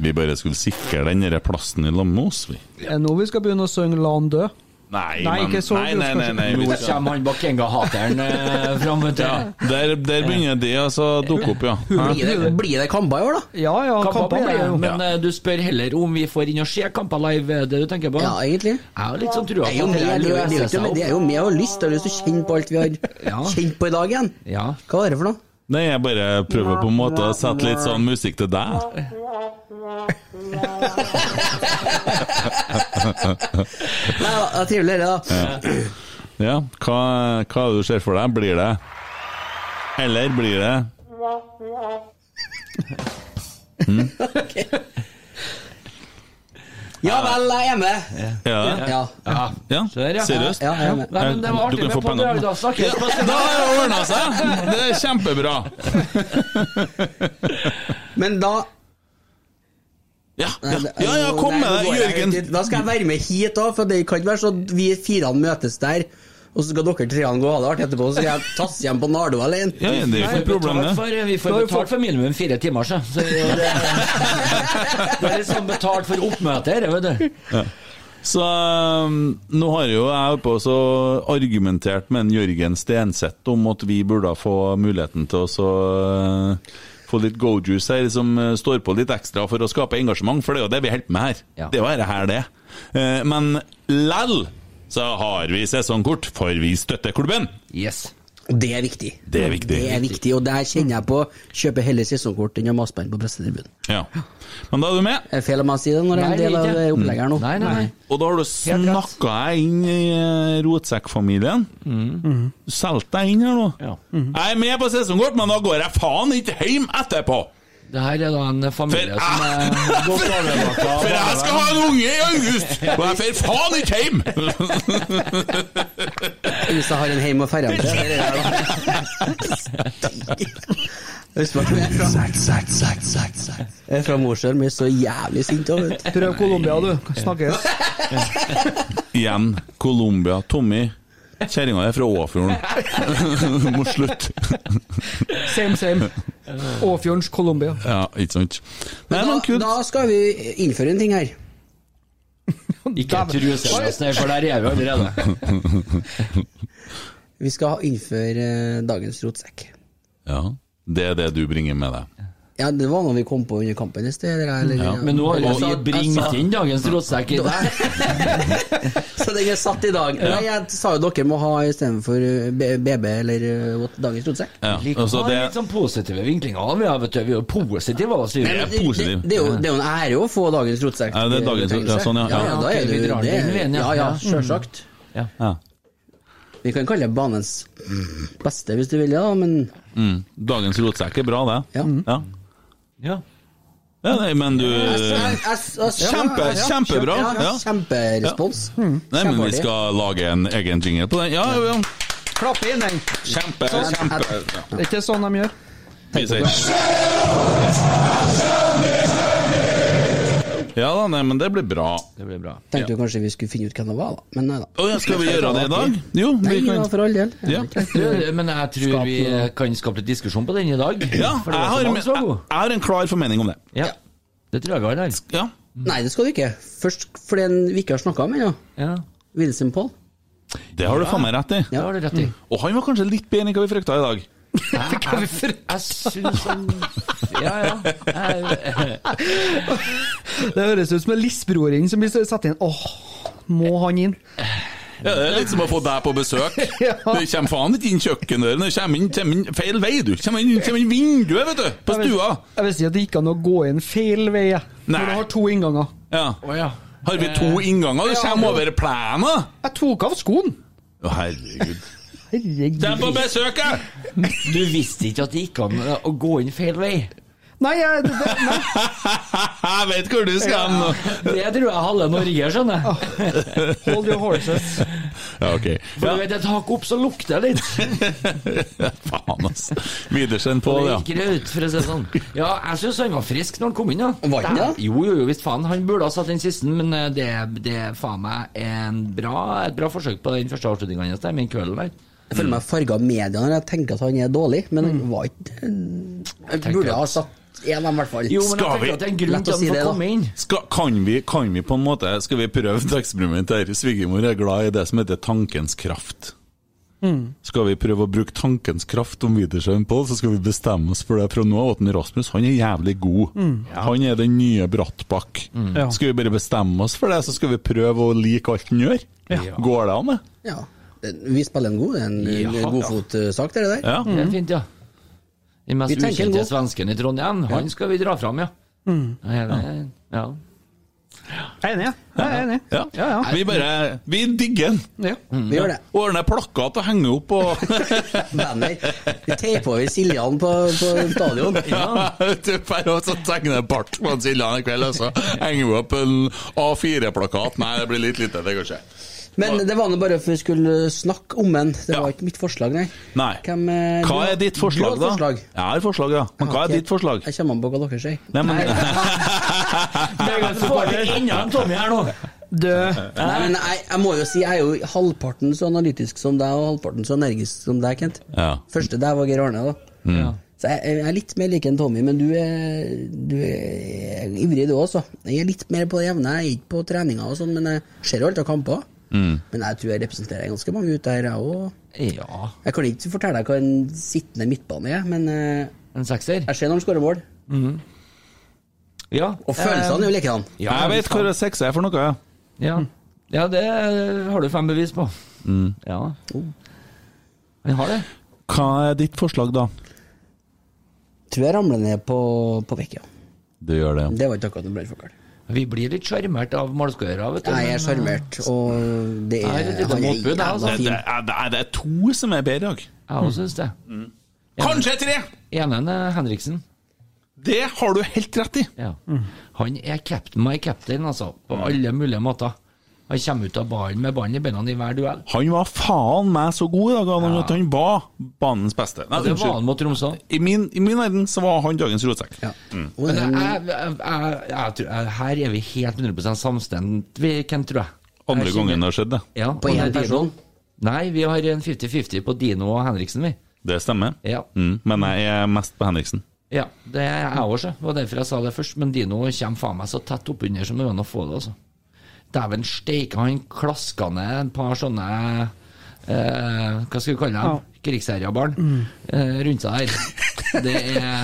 Speaker 1: Vi bare skulle sikre den der plassen i lammet med oss, vi.
Speaker 5: Er det Eh, nå vi skal begynne å synge 'La han dø'?
Speaker 1: Nei,
Speaker 5: Nei,
Speaker 1: men-
Speaker 5: ikke så
Speaker 1: nei, nei, nei, nei,
Speaker 2: Nå
Speaker 1: vi skal-
Speaker 2: kommer han Bakenga-hateren eh, fram, vet du.
Speaker 1: Ja, der, der begynner det altså å dukke opp, ja.
Speaker 4: Blir det, blir det kamper i år, da?
Speaker 5: Ja, ja,
Speaker 2: Kamper
Speaker 4: kamper
Speaker 2: blir det,
Speaker 4: blir det jo.
Speaker 2: men eh, du spør heller om vi får inn og se kamper live, er det du tenker på?
Speaker 4: Ja, egentlig.
Speaker 2: Jeg har litt sånn trua
Speaker 4: Det er jo
Speaker 2: på at
Speaker 4: med,
Speaker 2: det
Speaker 4: det er jo- det er jo
Speaker 2: løser
Speaker 4: ikke-
Speaker 2: seg
Speaker 4: men
Speaker 2: opp.
Speaker 4: det er jo med og lyst. Jeg har lyst til å kjenne på alt vi har kjent på i dag igjen. Hva er det for noe?
Speaker 1: Nei, jeg bare prøver på en måte å sette litt sånn musikk til deg.
Speaker 4: Nei, ja, det er trivelig det da.
Speaker 1: Ja, ja hva, hva er det du ser for deg? Blir det Eller blir det hm?
Speaker 4: Ja vel, jeg er med.
Speaker 1: Ja.
Speaker 4: Ja.
Speaker 2: Ja.
Speaker 1: ja.
Speaker 2: ja.
Speaker 1: Seriøst?
Speaker 2: Ja, ja, ja. Nei, men det var artig
Speaker 1: Du kan
Speaker 2: med
Speaker 1: få
Speaker 2: Pål
Speaker 1: pengene.
Speaker 2: Dragdal, snakkes.
Speaker 1: Ja, Da har det ordna seg! Det er kjempebra.
Speaker 4: Men da
Speaker 1: Ja,
Speaker 4: ja,
Speaker 1: ja, ja, kom med det, Jørgen.
Speaker 4: Da skal jeg være med hit òg, for det kan ikke være sånn at vi firene møtes der, og så skal dere treene gå og ha det artig etterpå, så skal jeg tasse hjem på Nardo alene.
Speaker 1: Ja, ja, det er jo ikke noe problem,
Speaker 2: betalt
Speaker 1: det.
Speaker 2: for, vi får
Speaker 1: Da har vi
Speaker 2: betalt
Speaker 1: fått-
Speaker 2: for minimum fire timer, så. så det, er jo det, det er liksom betalt for oppmøte her, vet du.
Speaker 1: Ja. Så um, nå har jo jeg oppe også argumentert med en Jørgen Stenseth om at vi burde få muligheten til å så, uh, få litt go-juice her, som uh, står på litt ekstra for å skape engasjement, for det er jo det vi holder på med her. Det er jo dette her det. er. Eh, Men lell så har vi sesongkort, for vi støtter klubben.
Speaker 2: Yes.
Speaker 4: Det er viktig.
Speaker 1: Det er viktig.
Speaker 4: Det er viktig, og der kjenner jeg på kjøper heller sesongkort enn å mase på den på pressetribunen.
Speaker 1: Ja. Men da er du med.
Speaker 4: Er det feil om jeg sier det når jeg er en del av det opplegget her nå?
Speaker 2: Nei, nei, nei.
Speaker 1: Og da har du snakka deg inn i eh, rotsekkfamilien. Mm.
Speaker 4: Mm.
Speaker 1: Du solgte deg inn her nå.
Speaker 2: Ja.
Speaker 1: Jeg er med på sesongkort, men da går jeg faen ikke hjem etterpå!
Speaker 2: Det her er da en familie
Speaker 1: For-
Speaker 2: som er godt overvåka.
Speaker 1: For jeg skal ha en unge i august, og jeg får faen ikke hjem!
Speaker 4: Hvis jeg har en hjem og ferja til, det er det der, da. Husk på at jeg er fra- Jeg er fra Mosjøen, men så jævlig sint òg, vet du.
Speaker 5: Prøv Colombia, du. Snakkes.
Speaker 1: Igjen Colombia. Tommy, kjerringa er fra Åfjorden. Må slutte.
Speaker 5: Same, same. Åfjordens Colombia.
Speaker 1: Ja, ikke sant. Nei, men
Speaker 4: Da,
Speaker 1: kult.
Speaker 4: da skal vi innføre en ting her.
Speaker 2: Ikke trusen oss ned, for der er vi allerede.
Speaker 4: Vi skal innføre eh, dagens rotsekk.
Speaker 1: Ja, det er det du bringer med deg.
Speaker 4: Ja, det var noe vi kom på under kampen i sted, eller?
Speaker 1: Mm.
Speaker 4: eller ja.
Speaker 2: Men nå har
Speaker 4: Jeg sa-
Speaker 2: vi
Speaker 4: jeg sa-
Speaker 2: bringt inn dagens rotsekk i deg.
Speaker 4: Så den er satt i dag. Nei, jeg sa jo dere må ha istedenfor eh, B- BB eller eh, what- dagens rotsekk.
Speaker 1: Ja,
Speaker 2: Litt,
Speaker 1: altså
Speaker 2: har
Speaker 1: det,
Speaker 2: litt sånn positive vinklinger av, ja, vet du. Vi er jo positive, altså.
Speaker 1: Det er
Speaker 4: Det, det,
Speaker 1: positiv.
Speaker 4: det, er jo, det er jo en ære å få dagens rotsekk.
Speaker 1: Ja, det er dagens rotsekk, ja, sånn, ja.
Speaker 4: ja,
Speaker 1: Ja,
Speaker 4: da er
Speaker 2: ok, vi
Speaker 4: det,
Speaker 2: drar
Speaker 4: det,
Speaker 2: den veien, ja.
Speaker 4: ja, ja,
Speaker 2: Ja.
Speaker 4: sjølsagt.
Speaker 1: ja.
Speaker 4: Vi kan kalle det banens beste hvis du vil, ja, men
Speaker 1: Dagens rotsekk er bra, det.
Speaker 4: Ja. Mm.
Speaker 1: Ja.
Speaker 2: Ja.
Speaker 1: Ja, nei, men du Eh. Kjempe,
Speaker 4: Kjempe,
Speaker 1: kjempebra. Ja.
Speaker 4: Kjemperespons.
Speaker 1: Nei, men vi
Speaker 4: Kjempeartig.
Speaker 1: skal lage en egen jingle på den. Ja, Mm. ja, ja.
Speaker 5: Klapp inn, den.
Speaker 1: Kjempe, kjempe. Ja.
Speaker 5: Det er ikke sånn de gjør.
Speaker 1: Vi sier Ja da, nei, men det blir bra.
Speaker 2: Det blir bra.
Speaker 4: Tenkte jo kanskje vi skulle finne ut hvem det var, da. Men nei da.
Speaker 1: Å, ja, skal vi gjøre det i dag? Jo,
Speaker 4: Nei,
Speaker 1: vi
Speaker 4: ja,
Speaker 1: kan
Speaker 4: for all del.
Speaker 1: Ja.
Speaker 2: Du,
Speaker 4: eh,
Speaker 2: Men jeg tror vi kan skape litt diskusjon på den i dag.
Speaker 1: Ja,
Speaker 2: for
Speaker 1: jeg
Speaker 2: det var
Speaker 1: har,
Speaker 2: så mange
Speaker 1: jeg,
Speaker 2: som var gode.
Speaker 1: jeg har en klar formening om det.
Speaker 2: Ja. Det tror jeg vi har der.
Speaker 1: Ja.
Speaker 4: Nei, det skal du ikke. Først for den vi ikke har snakka om ennå.
Speaker 2: Ja,
Speaker 4: Wilson Paul.
Speaker 1: Det har du faen meg rett i.
Speaker 2: det har du rett i.
Speaker 1: Og han var kanskje litt bedre enn hva vi frykta i dag.
Speaker 2: Jeg syns han Ja, ja. Jeg-
Speaker 5: Det høres ut som en lissbroring som blir satt inn. Åh, må han inn?
Speaker 1: Ja, det er litt som å få deg på besøk. Du kommer faen ikke inn kjøkkendøren, du kommer inn, kommer inn feil vei, du. Kommer inn, kommer inn vinduet, vet du, på
Speaker 5: Jeg vil-
Speaker 1: stua.
Speaker 5: Jeg vil si at det gikk an å gå inn feil vei, jeg.
Speaker 1: Nei.
Speaker 5: Når du har to innganger.
Speaker 1: Ja.
Speaker 2: Å, ja.
Speaker 1: Har vi to innganger? Du kommer over plenen!
Speaker 5: Jeg tok av skoen!
Speaker 1: Å, herregud.
Speaker 5: Herregud.
Speaker 1: Dem på besøket!
Speaker 2: Du visste ikke at det gikk an å gå inn feil vei?
Speaker 5: Nei, jeg, det, det, nei.
Speaker 1: Jeg vet hvor du skal hen nå.
Speaker 2: Det tror jeg halve Norge skjønner.
Speaker 4: Ah.
Speaker 5: Hold your horses.
Speaker 1: Ja, ok.
Speaker 2: For du vet, et hakk opp, så lukter det litt.
Speaker 1: Ja, faen, ass. Widersen på,
Speaker 2: Og det
Speaker 1: ja.
Speaker 2: gikk greit, for å si det sånn. Ja, jeg syns han var frisk når han kom inn, ja.
Speaker 4: Var han det?
Speaker 2: Jo, jo, jo, visst faen. Han burde ha satt den siste, men eh, det, det er faen meg en bra, et bra forsøk på den første avslutninga hans der, med den kvelden der.
Speaker 4: Jeg føler meg farga av media når jeg tenker at han er dårlig, men
Speaker 2: Mm.
Speaker 4: han var ikke Jeg burde ha satt en av dem, i hvert fall.
Speaker 2: Jo, men
Speaker 1: Skal
Speaker 2: jeg
Speaker 1: vi?
Speaker 2: tenker at det er en grunn
Speaker 4: Lett å
Speaker 2: til at
Speaker 4: si
Speaker 2: han
Speaker 4: det, da.
Speaker 2: får komme inn.
Speaker 1: Skal, kan, vi, kan vi på en måte Skal vi prøve et eksperiment her? Svigermor er glad i det som heter tankens kraft. Skal vi prøve å bruke tankens kraft om Widersen Pål, så skal vi bestemme oss for det fra nå av. at den Rasmus han er jævlig god. Han er den nye Brattbakk.
Speaker 5: Ja.
Speaker 1: Skal vi bare bestemme oss for det, så skal vi prøve å like alt han gjør? Går det an, det?
Speaker 4: Ja. Vi spiller en god en, en
Speaker 2: Ja,
Speaker 4: godfotsak, det der.
Speaker 1: Ja.
Speaker 2: Det er fint, ja. Den mest
Speaker 4: Vi tenker en
Speaker 2: ukjente
Speaker 4: god- Mm.
Speaker 2: svensken i Trondheim, han skal vi dra fram, ja. Ja, det- ja.
Speaker 5: Jeg er enig, jeg. Jeg er enig.
Speaker 1: Ja.
Speaker 5: Ja, ja.
Speaker 1: Vi bare Vi digger den!
Speaker 5: Ja.
Speaker 2: Mm.
Speaker 4: Vi gjør det.
Speaker 1: Ordner plakat og henger opp og
Speaker 4: Banner. Vi teiper over Siljan på, på stadion.
Speaker 1: Ja. Bare også tegne bart på en Siljan i kveld, og så henger vi opp en A4-plakat. Nei, det blir litt lite, det går ikke.
Speaker 4: Men det var nå bare for vi skulle snakke om en. Det
Speaker 1: Ja.
Speaker 4: var ikke mitt forslag, nei.
Speaker 1: Nei.
Speaker 4: Hvem, eh, du
Speaker 1: Hva
Speaker 4: har-
Speaker 1: er ditt
Speaker 4: du har
Speaker 1: forslag, da?
Speaker 4: forslag.
Speaker 1: Jeg har forslag, ja. Men hva er ditt forslag?
Speaker 4: Jeg kommer an på hva dere sier.
Speaker 1: Nei, men
Speaker 2: Så får vi enda en Tommy her nå.
Speaker 5: Død.
Speaker 4: Nei, men jeg, jeg må jo si jeg er jo halvparten så analytisk som deg, og halvparten så energisk som deg, Kent.
Speaker 1: Ja.
Speaker 4: Første der var Geir Arne, da.
Speaker 2: Ja.
Speaker 4: Så jeg, jeg er litt mer lik en Tommy, men du er, du er ivrig, du også. Jeg er litt mer på det jevne. Jeg er ikke på treninger og sånn, men jeg ser jo alt av kamper. Men jeg tror jeg representerer ganske mange ute her, jeg òg.
Speaker 2: Ja,
Speaker 4: Jeg kan ikke fortelle deg hva en sittende midtbane er, men eh,
Speaker 2: en sekser.
Speaker 4: jeg ser når de skårer mål.
Speaker 2: Ja.
Speaker 4: Og følelsene er jo likedan.
Speaker 2: Ja,
Speaker 1: Jeg vet hva det seks er for noe. ja.
Speaker 2: Ja. Ja, det har du fem bevis på.
Speaker 1: Mm.
Speaker 2: Ja. Han har det.
Speaker 1: Hva er ditt forslag, da?
Speaker 4: Tror jeg ramler ned på, på vekk, ja.
Speaker 1: Du gjør det, ja.
Speaker 4: Det var ikke akkurat en brannfakkel.
Speaker 2: Vi blir litt sjarmert av malskøyere, vet du.
Speaker 4: Nei, jeg er
Speaker 2: men-
Speaker 4: sjarmert, og det
Speaker 2: Nei,
Speaker 4: er
Speaker 2: det er litt motbud, det, altså.
Speaker 1: Det, det, er, det er- det er to som er bedre i dag.
Speaker 2: Jeg også synes det.
Speaker 1: Kanskje tre!
Speaker 2: Enen er Henriksen.
Speaker 1: Det har du helt rett i.
Speaker 2: Ja. Han er captain my captain, altså. På
Speaker 4: Mm.
Speaker 2: alle mulige måter. Han kommer ut av ballen med ballen i beina i hver duell.
Speaker 1: Han var faen meg så god i dag han, at han var banens beste. Nei,
Speaker 2: Og det var
Speaker 1: unnskyld.
Speaker 2: han mot Tromsø.
Speaker 1: I min, I min verden så var han dagens rotsekk. Mm.
Speaker 2: Men jeg, jeg, jeg, jeg, jeg, tror- jeg, her er vi helt 100 samstemt, vi, Kent, tror jeg.
Speaker 1: Andre
Speaker 2: Jeg kjenner-
Speaker 1: gangen det har skjedd, det.
Speaker 2: Ja,
Speaker 4: På
Speaker 2: og
Speaker 4: én
Speaker 2: det er
Speaker 4: person?
Speaker 2: Dino. Nei, vi har en 50-50 på Dino og Henriksen, vi.
Speaker 1: Det stemmer.
Speaker 2: Ja.
Speaker 1: Mm. Men jeg er mest på Henriksen.
Speaker 2: Ja, det er jeg òg, sjø. Det var derfor jeg sa det først. Men Dino kommer faen meg så tett oppunder som det går an å få det, altså. Dæven steike, han klaska ned et par sånne eh, Hva skal vi kalle dem? Krigsherjabarn eh, rundt seg her. Det er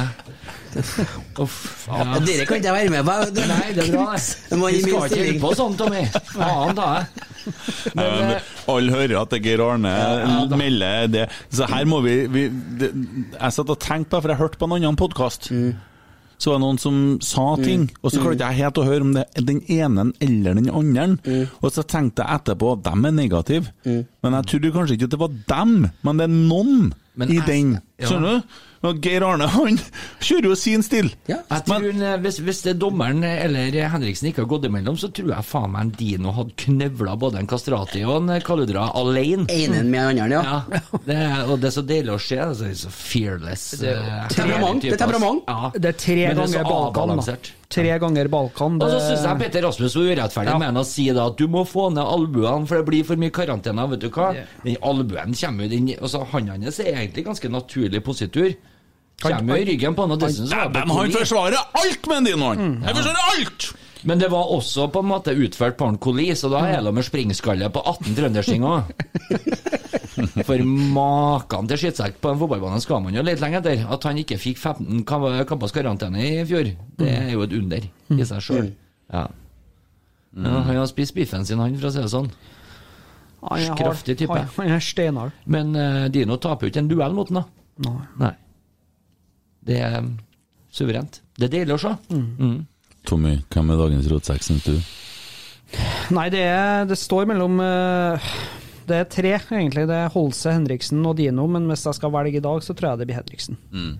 Speaker 2: Uff.
Speaker 4: Ja, dere kan ikke jeg være med på. Det-
Speaker 2: Nei, det er bra, det.
Speaker 4: Det må
Speaker 2: Vi
Speaker 4: gi min
Speaker 2: skal ikke
Speaker 4: stilling.
Speaker 2: holde på sånn, Tommy. Faen ta jeg. Men,
Speaker 1: Men
Speaker 2: eh,
Speaker 1: alle hører at det er Geir Arne melder det. Så her må vi, vi det, Jeg satt og tenkte på det, for jeg hørte på en annen podkast.
Speaker 2: Mm.
Speaker 1: Så var det noen som sa ting, og så klarte jeg helt å høre om det er den ene eller den andre.
Speaker 2: Mm.
Speaker 1: Og så tenkte jeg etterpå at dem er negative. Men jeg trodde kanskje ikke at det var dem, men det er noen
Speaker 2: Men
Speaker 1: i
Speaker 2: jeg-
Speaker 1: den.
Speaker 2: ja.
Speaker 1: Skjønner du? Og Geir Arne han kjører jo sin stil.
Speaker 4: Ja.
Speaker 2: Jeg tror eh, hvis, hvis det er dommeren eller Henriksen ikke har gått imellom, så tror jeg faen meg en Dino hadde knøvla både en Kastrati og en Kaludra alene.
Speaker 4: Enen med den andre, ja.
Speaker 2: Ja, det er, og det er så deilig å se. altså, Det er så fearless.
Speaker 5: Det er jo
Speaker 2: eh,
Speaker 4: temperament, det er
Speaker 2: type, ass.
Speaker 4: temperament.
Speaker 2: Ja.
Speaker 5: Det er tre
Speaker 2: Men det er så
Speaker 5: ganger Balkan, da.
Speaker 2: avbalansert.
Speaker 5: Tre ganger Balkan.
Speaker 2: Og så
Speaker 5: det-
Speaker 2: syns jeg Petter Rasmus var urettferdig med han å si da at du må få ned albuene, for det blir for mye karantene. Vet du hva? Den albuen kommer jo den Altså, han hans er egentlig ganske naturlig positur. Kommer jo i ryggen på han, og dessuten så var det
Speaker 1: Dæven, han
Speaker 2: Collier.
Speaker 1: forsvarer alt med en dinoen!
Speaker 2: Mm.
Speaker 1: Jeg forsvarer alt!
Speaker 2: Men det var også på en måte utført på en koli, så da er det med springskalle på 18 trøndersting òg. For maken til skittsekk på en fotballbane skal man jo lete lenge etter. At han ikke fikk 15 kam- kampers karantene i fjor, det er jo et under i seg sjøl. Ja. Ja, han har spist biffen sin, han, for å si det sånn.
Speaker 5: Han er hard.
Speaker 2: Kraftig type.
Speaker 5: Han- Han er steinhard.
Speaker 2: Men eh, Dino taper jo ikke en duell mot han, da.
Speaker 5: Nei.
Speaker 2: Nei. Det er eh, suverent. Det er deilig å se.
Speaker 1: Tommy, hvem er dagens rotsekk, syns du?
Speaker 5: Nei, det, er, det står mellom eh, Det er tre, egentlig. Det er Holse, Henriksen og Dino, men hvis jeg skal velge i dag, så tror jeg det blir Henriksen.
Speaker 2: Mm.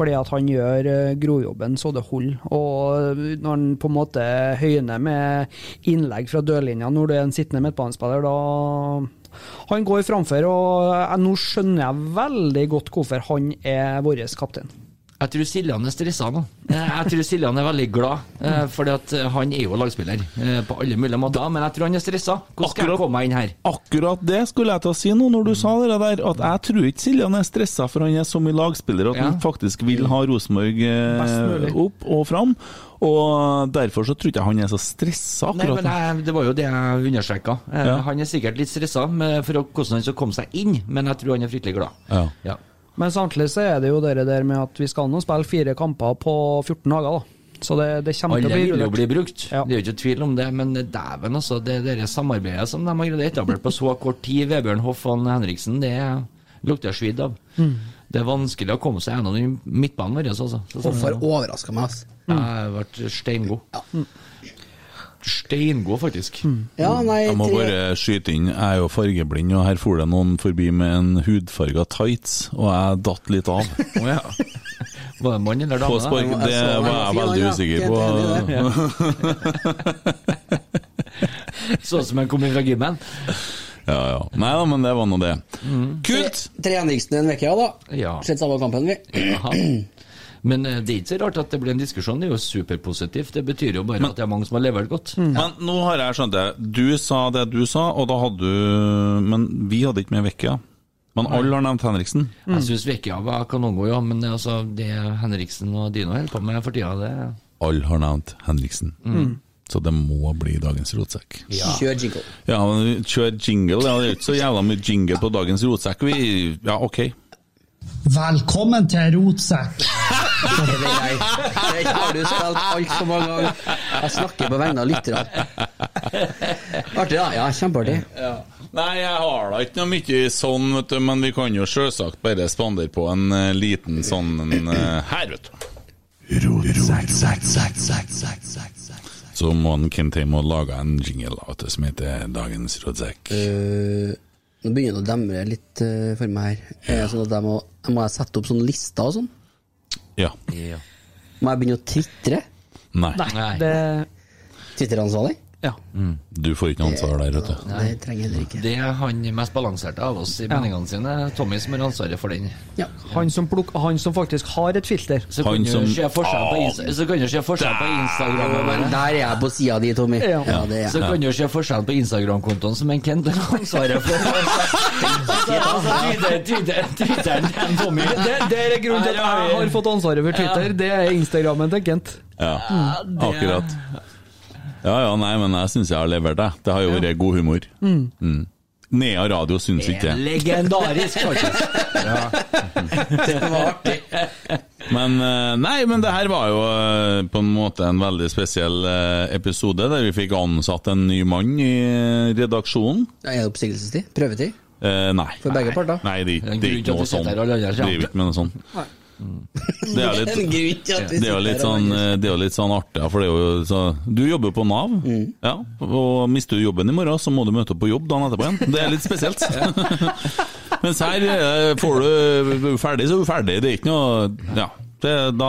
Speaker 5: Fordi at han gjør eh, grovjobben så det holder. Og eh, når han på en måte høyner med innlegg fra dørlinja når du er en sittende midtbanespiller, da Han går framfor, og eh, nå skjønner jeg veldig godt hvorfor han er vår kaptein.
Speaker 2: Jeg tror Siljan er stressa nå. Eh, Jeg tror Siljan er veldig glad, eh, fordi at eh, han er jo lagspiller eh, på alle mulige måter. Men jeg tror han er stressa. Hvordan skal jeg
Speaker 1: Akkurat.
Speaker 2: komme meg inn her?
Speaker 1: Akkurat det skulle jeg til å si nå, når du sa det der, at jeg tror ikke Siljan er stressa, for han er så mye lagspiller at
Speaker 2: Ja.
Speaker 1: han faktisk vil ha Rosenborg eh,
Speaker 5: Best mulig.
Speaker 1: opp og fram. Og derfor så tror jeg ikke han er så stressa
Speaker 2: Nei,
Speaker 1: akkurat
Speaker 2: men
Speaker 1: nå.
Speaker 2: jeg, Det var jo det jeg understreka. Eh,
Speaker 1: Ja.
Speaker 2: Han er sikkert litt stressa med- for å- hvordan han skal komme seg inn, men jeg tror han er fryktelig glad.
Speaker 1: Ja.
Speaker 2: Ja.
Speaker 5: Men samtidig så er det jo det der med at vi skal nå spille fire kamper på 14 dager, da. Så det, det kommer
Speaker 2: Alle
Speaker 5: til å bli
Speaker 2: vil jo
Speaker 5: rullert.
Speaker 2: bli brukt,
Speaker 5: Ja.
Speaker 2: det er jo ikke tvil om det. Men dæven, altså. Det det der samarbeidet som de har greid å etablere på så kort tid, Vebjørn Hoff og Henriksen, det lukter svidd av.
Speaker 5: Mm.
Speaker 2: Det er vanskelig å komme seg gjennom den midtbanen vår, altså. Så-
Speaker 4: Hvorfor overraska meg, altså.
Speaker 2: Jeg ble steingod. Steingod, faktisk.
Speaker 5: Mm.
Speaker 4: Ja, nei,
Speaker 1: Jeg må
Speaker 4: tre-
Speaker 1: bare skyte inn, jeg er jo fargeblind, og her for det noen forbi med en hudfarga tights, og jeg datt litt av.
Speaker 2: Å ja. Var det mann eller dame? da?
Speaker 1: På spark, det
Speaker 4: så-
Speaker 1: var jeg veldig
Speaker 4: Ja,
Speaker 1: usikker
Speaker 4: jeg er helt enig i
Speaker 1: på.
Speaker 4: det.
Speaker 2: Sånn som han kom fra gymmen?
Speaker 1: Ja, ja. Nei da, men det var nå det.
Speaker 2: Mm.
Speaker 1: Kult!
Speaker 4: Tre Henriksen en uke, ja da.
Speaker 2: Ja.
Speaker 4: Sett samme kampen, vi.
Speaker 2: Jaha. Men eh, det er ikke så rart at det blir en diskusjon, det er jo superpositivt. Det betyr jo bare at det er mange som har levert godt.
Speaker 1: Men nå har jeg skjønt det. Du sa det du sa, og da hadde du Men vi hadde ikke med Vekkia. Men alle har nevnt Henriksen.
Speaker 2: Jeg syns Vekia var kanongo, ja, men altså, det Henriksen og Dino holder på med for tida, det
Speaker 1: Alle har nevnt Henriksen. Så det må bli dagens rotsekk.
Speaker 4: Kjør jingle.
Speaker 1: Mm. Ja, men vi kjører jingle. Ja, det er jo ikke så jævla mye jingle på dagens rotsekk. Vi, ja, ok.
Speaker 3: Velkommen til Rotsekk.
Speaker 4: Det vet jeg. Den har du spilt altfor mange ganger. Jeg snakker på vegne av lytterne. Artig, da. Ja, kjempeartig.
Speaker 1: Nei, jeg har da ikke noe mye sånn, vet du, men vi kan jo selvsagt bare spandere på en eh, liten sånn en, eh, her, vet du. Så må han Kentheim og lage en jingle da, vet du, som heter Dagens rådsekk.
Speaker 4: Eh, nå begynner det å demre litt eh, for meg her. Eh, sånn at jeg må, jeg må jeg sette opp sånne lister og sånn?
Speaker 1: Ja.
Speaker 4: Må jeg begynne å tvitre?
Speaker 1: Nei.
Speaker 4: Twitter-ansvarlig?
Speaker 5: Ja.
Speaker 1: Mm. Du får ikke noe ansvar der, vet du.
Speaker 4: Det trenger jeg heller ikke.
Speaker 2: Det er han mest balanserte av oss i meningene sine. Tommy som har ansvaret for den.
Speaker 5: Han som, pluk, han som faktisk har et filter.
Speaker 2: Så kan du se forskjell på, Insta- så kan du se forskjell på Instagram og bare-
Speaker 4: Der er jeg på sida di, Tommy.
Speaker 2: Ja.
Speaker 4: Ja, det er jeg.
Speaker 2: Så kan du se forskjell på Instagram-kontoen som en Kent har ansvaret for. Altså, Twitter- Twitter- Twitteren til Tommy.
Speaker 5: Det, det er grunnen til at jeg har fått ansvaret for Twitter. Det er Instagrammen til Kent.
Speaker 1: Ja,
Speaker 5: Mm.
Speaker 1: akkurat. Ja ja, nei, men jeg syns jeg har levert det. Det har jo vært god humor.
Speaker 2: Mm.
Speaker 1: Mm. Nea radio syns ikke det.
Speaker 2: Legendarisk, faktisk.
Speaker 1: Men eh, nei, men det her var jo eh, på en måte en veldig spesiell eh, episode, der vi fikk ansatt en ny mann i eh, redaksjonen.
Speaker 4: Ja, Er det oppsigelsestid? Prøvetid?
Speaker 1: Eh, nei.
Speaker 4: For begge parter?
Speaker 1: Nei, det, det,
Speaker 4: Det er en grunn
Speaker 1: er ikke
Speaker 4: til at du
Speaker 1: noe
Speaker 4: sitter
Speaker 1: sånn.
Speaker 4: her og lager seg.
Speaker 1: Driver ikke med noe sånn.
Speaker 4: Nei.
Speaker 1: Det er jo
Speaker 4: Det er en grunn
Speaker 1: litt,
Speaker 4: til at vi
Speaker 1: det er jo litt
Speaker 4: sitter her og
Speaker 1: sånn, eh, det er jo litt sånn artig, ja, for det er jo så, Du jobber jo på Nav,
Speaker 2: Mm.
Speaker 1: ja, og mister du jobben i morgen, så må du møte opp på jobb dagen etterpå igjen. Det er litt spesielt. Mens her eh, får du ferdig, så er du ferdig. Det er ikke noe Ja. Det, da,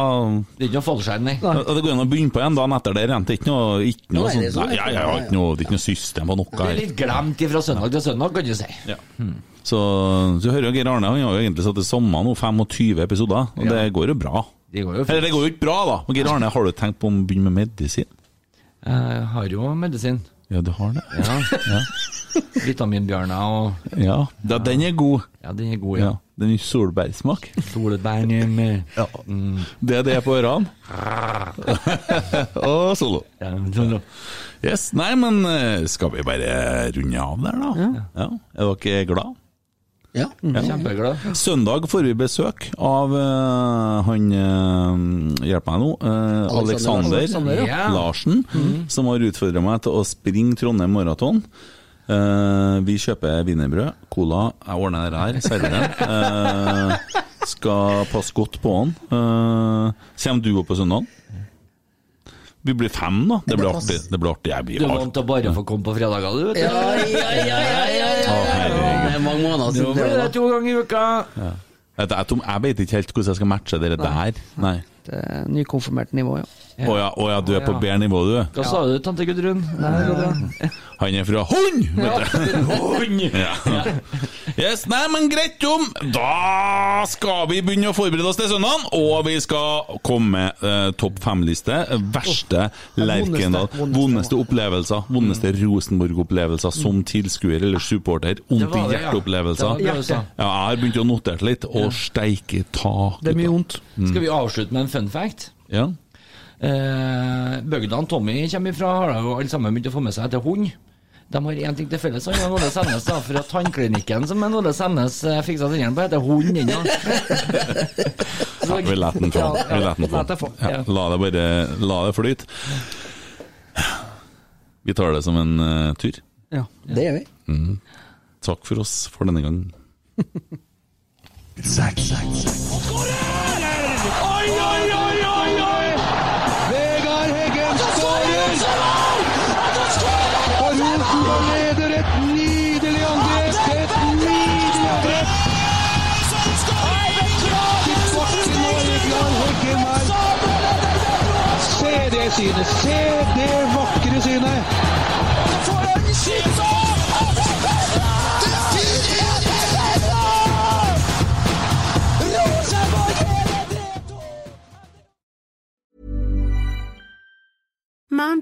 Speaker 2: det er ikke noe fallskjerm, nei.
Speaker 1: Det går an å begynne på en dagen etter det igjen. Det er ikke noe, ikke noe
Speaker 2: Nei, det er
Speaker 1: sånt.
Speaker 2: sånn,
Speaker 1: Nei, ja, ja, ikke noe, det er ikke noe system på noe
Speaker 2: Det er
Speaker 1: her.
Speaker 2: litt Hmm. glemt fra søndag til søndag, kan du si.
Speaker 1: Så, så hører jo Geir Arne, han har jo egentlig satt i sommer nå 25 episoder, og det går jo bra.
Speaker 2: Det går jo fint.
Speaker 1: Eller det går jo ikke bra, da. Men Geir Arne, har du tenkt på å begynne med medisin?
Speaker 2: Jeg har jo medisin.
Speaker 1: Ja, du har det?
Speaker 2: Ja. Vitaminbjørner og
Speaker 1: Ja, da, den er god.
Speaker 2: Ja, den er god, ja.
Speaker 1: Den er solbærsmak.
Speaker 2: Solbær med
Speaker 1: ja. Det er det på ørene. og solo. Yes, Nei, men eh, skal vi bare runde av der, da? Ja. Er dere glad?
Speaker 4: Ja,
Speaker 2: kjempeglad.
Speaker 1: Søndag får vi besøk av eh, han eh, Hjelp meg nå. eh, Alexander,
Speaker 2: Alexander. Alexander, ja.
Speaker 1: Larsen, som har utfordra meg til å springe Trondheim maraton. Eh, vi kjøper wienerbrød, cola, jeg ordner det her, serverer den. Eh, skal passe godt på han. Eh, kommer du opp på søndag? Vi blir fem, da. Det blir artig. Det blir artig. Jeg
Speaker 2: Du er
Speaker 1: blir artig.
Speaker 2: vant til å bare få komme på fredager, du. vet du.
Speaker 4: Ja, ja, ja, ja, ja, ja. Det er mange måneder
Speaker 2: Nå
Speaker 4: siden.
Speaker 2: blir det
Speaker 4: det var.
Speaker 2: to ganger i uka.
Speaker 1: Ja. Jeg, jeg, Tom, jeg vet ikke helt hvordan jeg skal matche dere der. Nei.
Speaker 5: Det er Nykonfirmert nivå, ja.
Speaker 1: Å ja, å ja, du er på
Speaker 5: Ja.
Speaker 1: bedre nivå, du.
Speaker 2: Hva sa du, tante Gudrun?
Speaker 1: Han er fra Hund! Vet du.
Speaker 2: Hund!
Speaker 1: Ja. Yes, nei, men greit, Tom. Da skal vi begynne å forberede oss til søndagen, og vi skal komme med eh, topp fem-liste. Verste Lerkendal. Vondeste opplevelser. Vondeste Rosenborg-opplevelser som tilskuer eller supporter. Vondt i
Speaker 2: var Mm. det, ja.
Speaker 1: hjerteopplevelser.
Speaker 2: Det
Speaker 1: Ja,
Speaker 2: var det du sa.
Speaker 1: jeg har begynt å notere litt. Å steike tak.
Speaker 2: Det er mye
Speaker 5: vondt.
Speaker 1: Mm.
Speaker 2: Skal vi avslutte med en fun fact?
Speaker 1: Ja.
Speaker 2: Eh, Bøgda og Tommy kommer ifra, har da jo alle sammen begynt å få med seg etter hund. De har én ting til felles, han og Ole Sennes, da, for at tannklinikken som en Ole Sennes eh, fiksa tennene på, heter Hund ennå.
Speaker 1: Ja, vi lar den få. Vi lar
Speaker 2: Ja,
Speaker 1: den
Speaker 2: la det
Speaker 1: få.
Speaker 2: få.
Speaker 1: Ja, la det bare La det flyte. Vi tar det som en eh, tur.
Speaker 5: Ja.
Speaker 4: Det gjør vi.
Speaker 1: Mm. Takk for oss for denne gangen.
Speaker 3: Oi, oi, oi, oi, oi! Vegard Heggen skårer! Og Rosenborg leder et nydelig angrep! Et nydelig angrep! Tilbake nå, Vegard Heggen her. Se det synet! Se det vakre synet!
Speaker 9: Mom